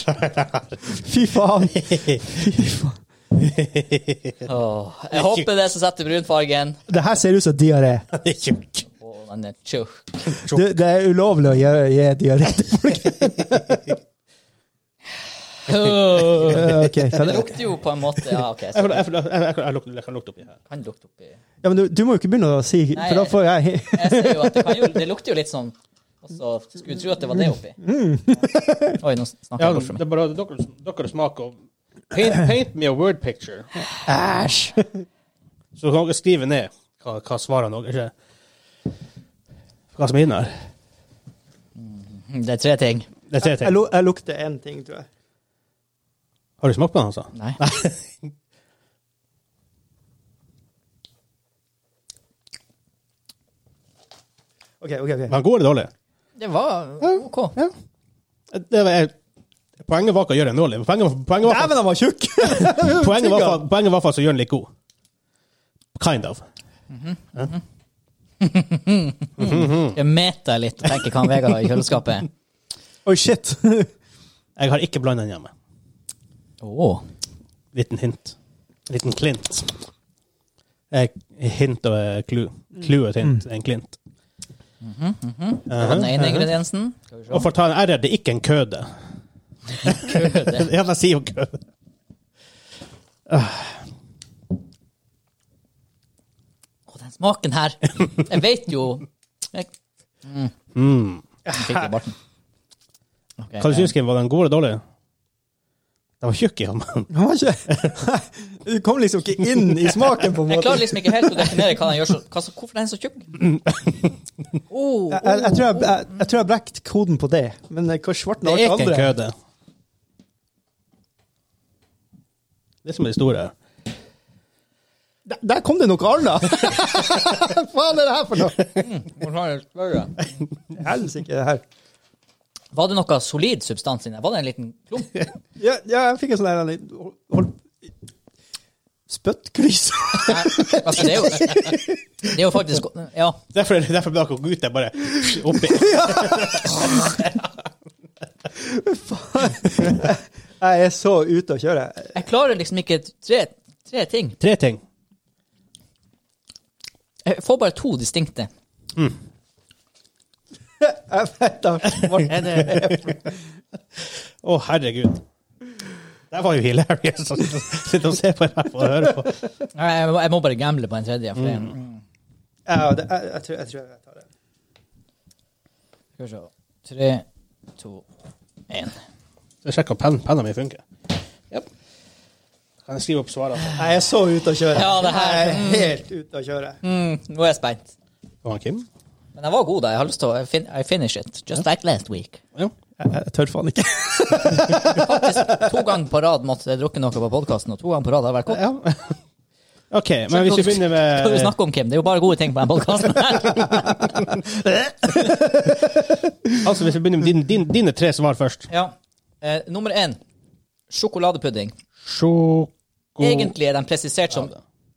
Fy faen. Åh, Jeg håper det er som setter brunfargen. Det her ser ut som diaré. Tjukk. Åh, den er tjukk. Det, det er ulovlig å gjøre- gi diaré til folk. Åh. Eh, ok, hva er Det det? lukter jo på en måte Ja, OK. Jeg Så får- jeg får- jeg- jeg- jeg kan lukte- jeg kan lukte oppi her. kan lukte oppi Ja, men du, du må jo ikke begynne å si, Nei, for da får jeg Jeg ser jo at det kan jo Det lukter jo litt sånn også, Skulle tro at det var det oppi. Mm. Oi, nå snakker Ja, jeg bort fra det meg. er bare dere, dere smaker og paint, paint me a word picture. Æsj! Så kan dere skrive ned hva, hva svarene dere er. Hva som er inne her. Det er tre ting. Det er tre Jeg, ting. lu- jeg lukter én ting, tror jeg. Har du smakt på den, altså? Nei. Ok, ok, ok. Var den god eller dårlig? Det var OK. Ja. Det var, jeg, poenget var ikke å gjøre den dårlig. men Poenget, var- poenget, var, Dæven, han var tjukk! poenget, var, fa- poenget var faktisk å gjøre den litt god. Kind of. Jeg meter litt og tenker hva han Vegard har i kjøleskapet. Oi, shit. Jeg har ikke blanda den hjemme. Åh. Liten hint. Liten klint. Eh, Hint og eh, clue. Clue og et hint. En Det klint. var den Uh-huh. ene ingrediensen. Skal vi se. Og for å ta en R er det ikke en køde. Køde. Ja, jeg sier jo køde. Åh, den smaken her. Jeg vet jo jeg, Mm. jeg fikk det i barten. Okay, Hva du eh, syns du, Kim? Var den god eller dårlig? Den var tjukk i hånden. Han var ikke Du kom liksom ikke inn i smaken, på en Jeg måte. klarer liksom ikke helt å definere hva den gjør så, hva, som- hvorfor den er så tjukk. Oh, Mm. Jeg, jeg, jeg, tror jeg, jeg, jeg tror jeg brekte koden på det, men eh, hva svarten Det har er ikke en andre? køde. Det er som er det store her. Der, der kom det noe annet! oh. Hva faen er det her for noe? Mm, Helsike, det her. Var det noe solid substans inni der? Var det en liten klump? Ja, ja jeg fikk en sånn her en liten- hold- hold- Spyttklyse. Nei, altså, det, er jo, det er jo faktisk Ja. Derfor, derfor ble dere gutter bare oppi. Jeg er så ute å kjøre. Jeg klarer liksom ikke tre, tre ting. Tre ting. Jeg får bare to distinkte. Jeg vet da Er det, Å, herregud. Det var jo hilarious å sitte og se på det her og høre på. Nei, jeg, må, jeg må bare gamble på en tredje. For det, mm. Ja, det, jeg, jeg, tror, jeg tror jeg tar det. Skal vi se. Tre, to, én. Så jeg sjekker om pen, penna mi funker. Yep. Kan jeg skrive opp svarene? Jeg er så ute å kjøre. Ja, det her- Jeg er helt ute å kjøre. Mm, nå er jeg spent. Det var Kim. Men jeg var god, da. Jeg har lyst til å I fin I finish it. Just like last week. Ja. Jeg, tør faen ikke. To ganger på rad måtte jeg drukke noe på podkasten, og to ganger på rad har jeg vært kopp. ja. OK, men hvis vi begynner Hva er det du med snakker om, Kim? Det er jo bare gode ting på den podkasten. Altså, hvis vi begynner med din, din, dine tre svar først. ja. eh, nummer én. Sjokoladepudding. Sjoko... Egentlig er den presisert som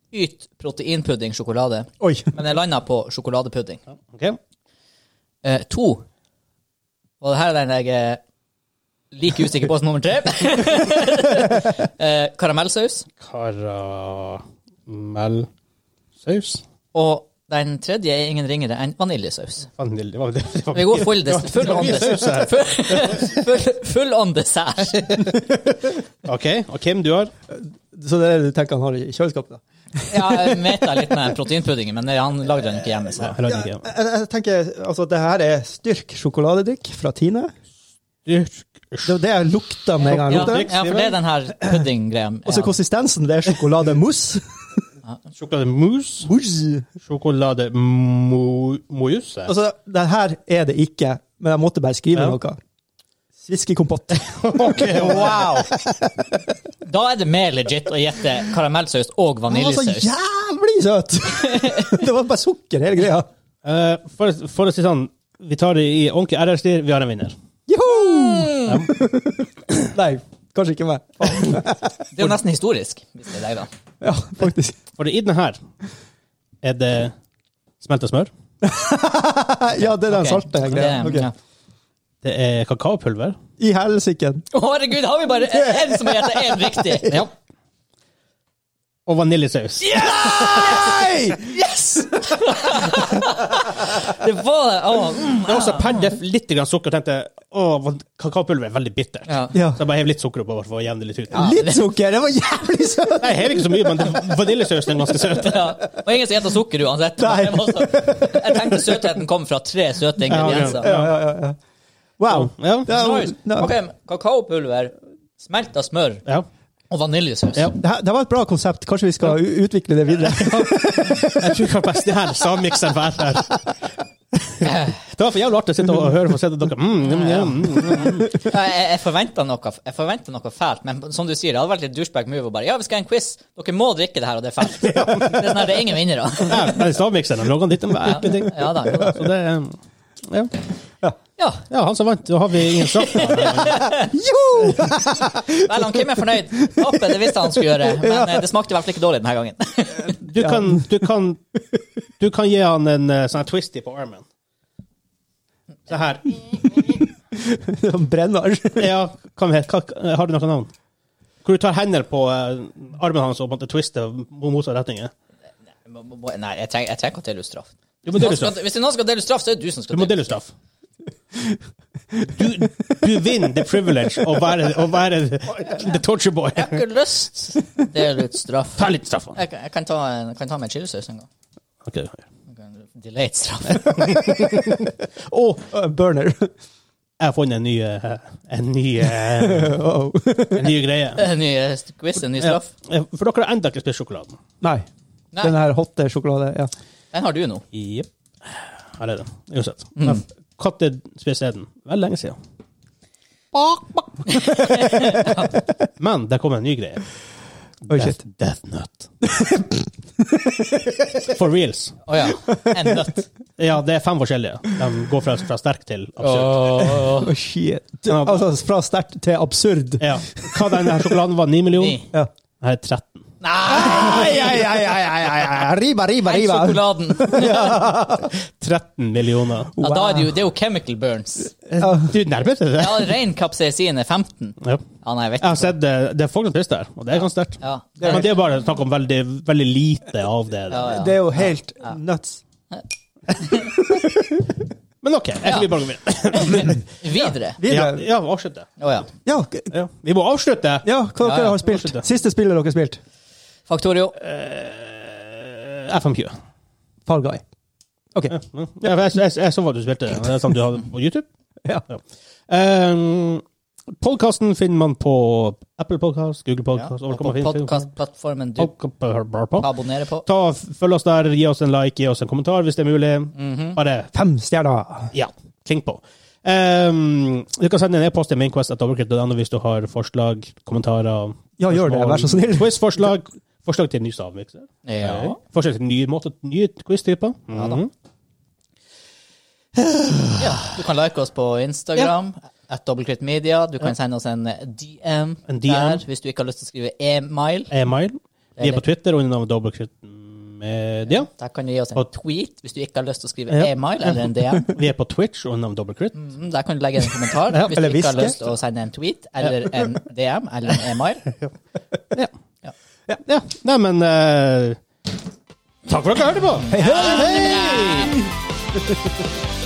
yt proteinpudding sjokolade, Oi. men jeg landa på sjokoladepudding. OK. Eh, to. Og det her er den jeg er like usikker på som nummer tre. eh, karamellsaus Karamellsaus. og Den tredje er ingen ringere enn vaniljesaus. Vanilje, det var, det, det var Vi går full, des full, det var on, mye saus her. des full, full, full on dessert. OK. Og Kim, du har? Så det er det du tenker han har i kjøleskapet? da? Ja, jeg meta litt med proteinpuddingen, men han lagde den ikke hjemme. Så. Jeg lagde ikke. Jeg, jeg tenker, altså Det her er styrk sjokoladedrikk fra Tine. Det var det jeg lukta med en gang. jeg Ja, lukta det. ja, for det er den her puddinggreia. Og så konsistensen, det er sjokolademousse. Sjokolademousse. Mousse. Sjokolademousse. Altså, det her er det ikke, men jeg måtte bare skrive Ja. noe. Sviskekompott. OK, wow! Da er det mer legit å gjette karamellsaus og Den var så vaniljesaus. jævlig søt! det var bare sukker, hele greia. Eh, for, for å si sånn, vi tar det i ordentlig RR-stil. Vi har en vinner. Joho! Mm. Nei, kanskje ikke meg. Faen. Det er jo nesten historisk. hvis det er deg da. Ja, faktisk. For i den her er det smelta smør. Ja, det er den Ok, salte det- greia. Ok. ja. Det er kakaopulver. I helsike. Å, herregud, har vi bare én som har gjetta én riktig? Ja. Og vaniljesaus. Nei! Yes! det var det. Å, mm, Det er også per def litt grann sukker. Tenkte å, van- kakaopulver er veldig bittert. ja. Ja. Så jeg bare hev litt sukker oppå bare for å jevne det litt ut. Litt sukker, det var jævlig søt! Jeg hever ikke så mye, men det- vaniljesausen er ganske søt. Ja. Og ingen som gjetter sukker uansett. Nei. Jeg, var også, jeg tenkte søtheten kom fra tre søte ingredienser. Ja, ja, ja, ja. Wow. Ja. Det er- Nice. Ja. Ok, Kakaopulver, smelta smør Ja. og vaniljesaus. Ja. Det, her, det var et bra konsept. Kanskje vi skal u- utvikle det videre. Jeg tror kanskje best det her sammikseren for her. Det var for jævlig artig å sitte og høre på sitte dere mm, mm, mm, mm. Ja, Jeg, jeg forventa noe, jeg forventet noe fælt, men som du sier, det hadde vært litt douchebag move å bare Ja, vi skal ha en quiz. Dere må drikke det her, og det er fælt. Det er, sånn her, det er ingen vinnere. Ja, den stavmikseren han laget litt om hver Ja, enkelt ting. ja da. Så det um, ja. Ja. ja, han som vant. Da har vi ingen straff. Jo! Vel, han Kim er fornøyd. Tapet, det visste han skulle gjøre, men eh, det smakte i hvert fall ikke dårlig denne gangen. Du kan, du kan, du kan gi han en uh, sånn her twisty på armen. Se her. Brenner. Ja, hva het hva- Har du noe navn? Hvor du tar hender på eh, armen hans og på en måte twister mot motsatt retning. ja. Må- må- må- Nei, jeg trenger jeg trenger ikke å dele ut straff. Du må Noen dele skal- straff. Hvis noen skal dele ut straff, så er det du som Du skal må dele dele straff. Du, du vinner the privilege å være, å være the torture boy. Jeg har ikke lyst til å dele ut straff. Ta litt straff. han. Jeg, kan- jeg kan ta, en- kan ta med chilisaus en gang. Okay. Jeg kan Delayed straff. Og Uh, Burner. jeg har funnet en ny, eh, en ny, eh, Uh-oh. en ny greie. En ny eh, quiz, en ny straff. Ja, for dere har enda ikke spist sjokoladen. Nei. Nei. Den her hotte sjokolade. Ja. Den har du nå. Jepp. Her er det. Uansett. Når spiste jeg den? Vel lenge siden. Men det kom en ny greie. Oi, shit. death nut. For reals. Å ja. En nøtt. Ja, det er fem forskjellige. De går fra, fra sterk til absurd. Oi, Oh, shit. Altså, fra sterkt til absurd. Ja. Hva denne her sjokoladen var? 9 millioner? Ni. Ja. Her er 13. Nei! Ai, ai, ai, ai, ai, ai, ai. Riba, riba, Den riba. sjokoladen. 13 millioner. Ja, da er det, jo, det er jo chemical burns. Du nærmer deg det. Ja, Rein kapsaisin er 15. Ja. Ja, nei, jeg vet Jeg ikke. har sett det, det er folk som spiser det her, og det er ganske sterkt. Ja. Men det er bare snakk om veldig, veldig lite av det. Ja, ja. Det er jo helt nuts. Men OK, jeg tror Ja. vi bare går videre. Videre. Ja, Videre. ja, avslutte. Å ja. Ja, k- Ja. Vi må avslutte! ja hva Ja, dere ja. har spilt? Fortsett. Siste spillet dere har spilt? Faktorio. Eh, FMQ. Fall Guy. Ja, ja, for jeg, jeg, jeg så hva du spilte. Det er sånn du hadde på YouTube. Ja. Um, Podkasten finner man på Apple Podcast, Google Podcast Og overalt på man finner- podkastplattformen du Podkast- abonnerer på. Ta, Følg oss der, gi oss en like, gi oss en kommentar hvis det er mulig. Mhm. Bare Fem stjerner. Ja, klink på. Ehm, du kan sende en e-post til mainquest.overkrit.no hvis du har forslag, kommentarer Ja, gjør det. spørsmål, Vær så snill. Quiz-forslag. Forslag til ny stavmikser. Ja. Forslag til nye måter, nye quiz-typer. Mhm. ja. Du kan like oss på Instagram. At Dobbeltkritt Media. Du kan sende oss en DM, En DM. der hvis du ikke har lyst til å skrive e-mail. E-mail. Vi er på Eller- Twitter under navnet Dobbeltkrit Media. Der kan du gi oss en Og- tweet hvis du ikke har lyst til å skrive Ja. e-mail eller en DM. Vi er på Twitch under navnet Dobbeltkrit. Mm, Der kan du legge en kommentar Ja, hvis du eller ikke har hviske. lyst til å sende en tweet eller en DM eller en e-mail. Ja. Ja. ja. Nei, men eh, Takk for at dere hørte på! Hei, hei, hei!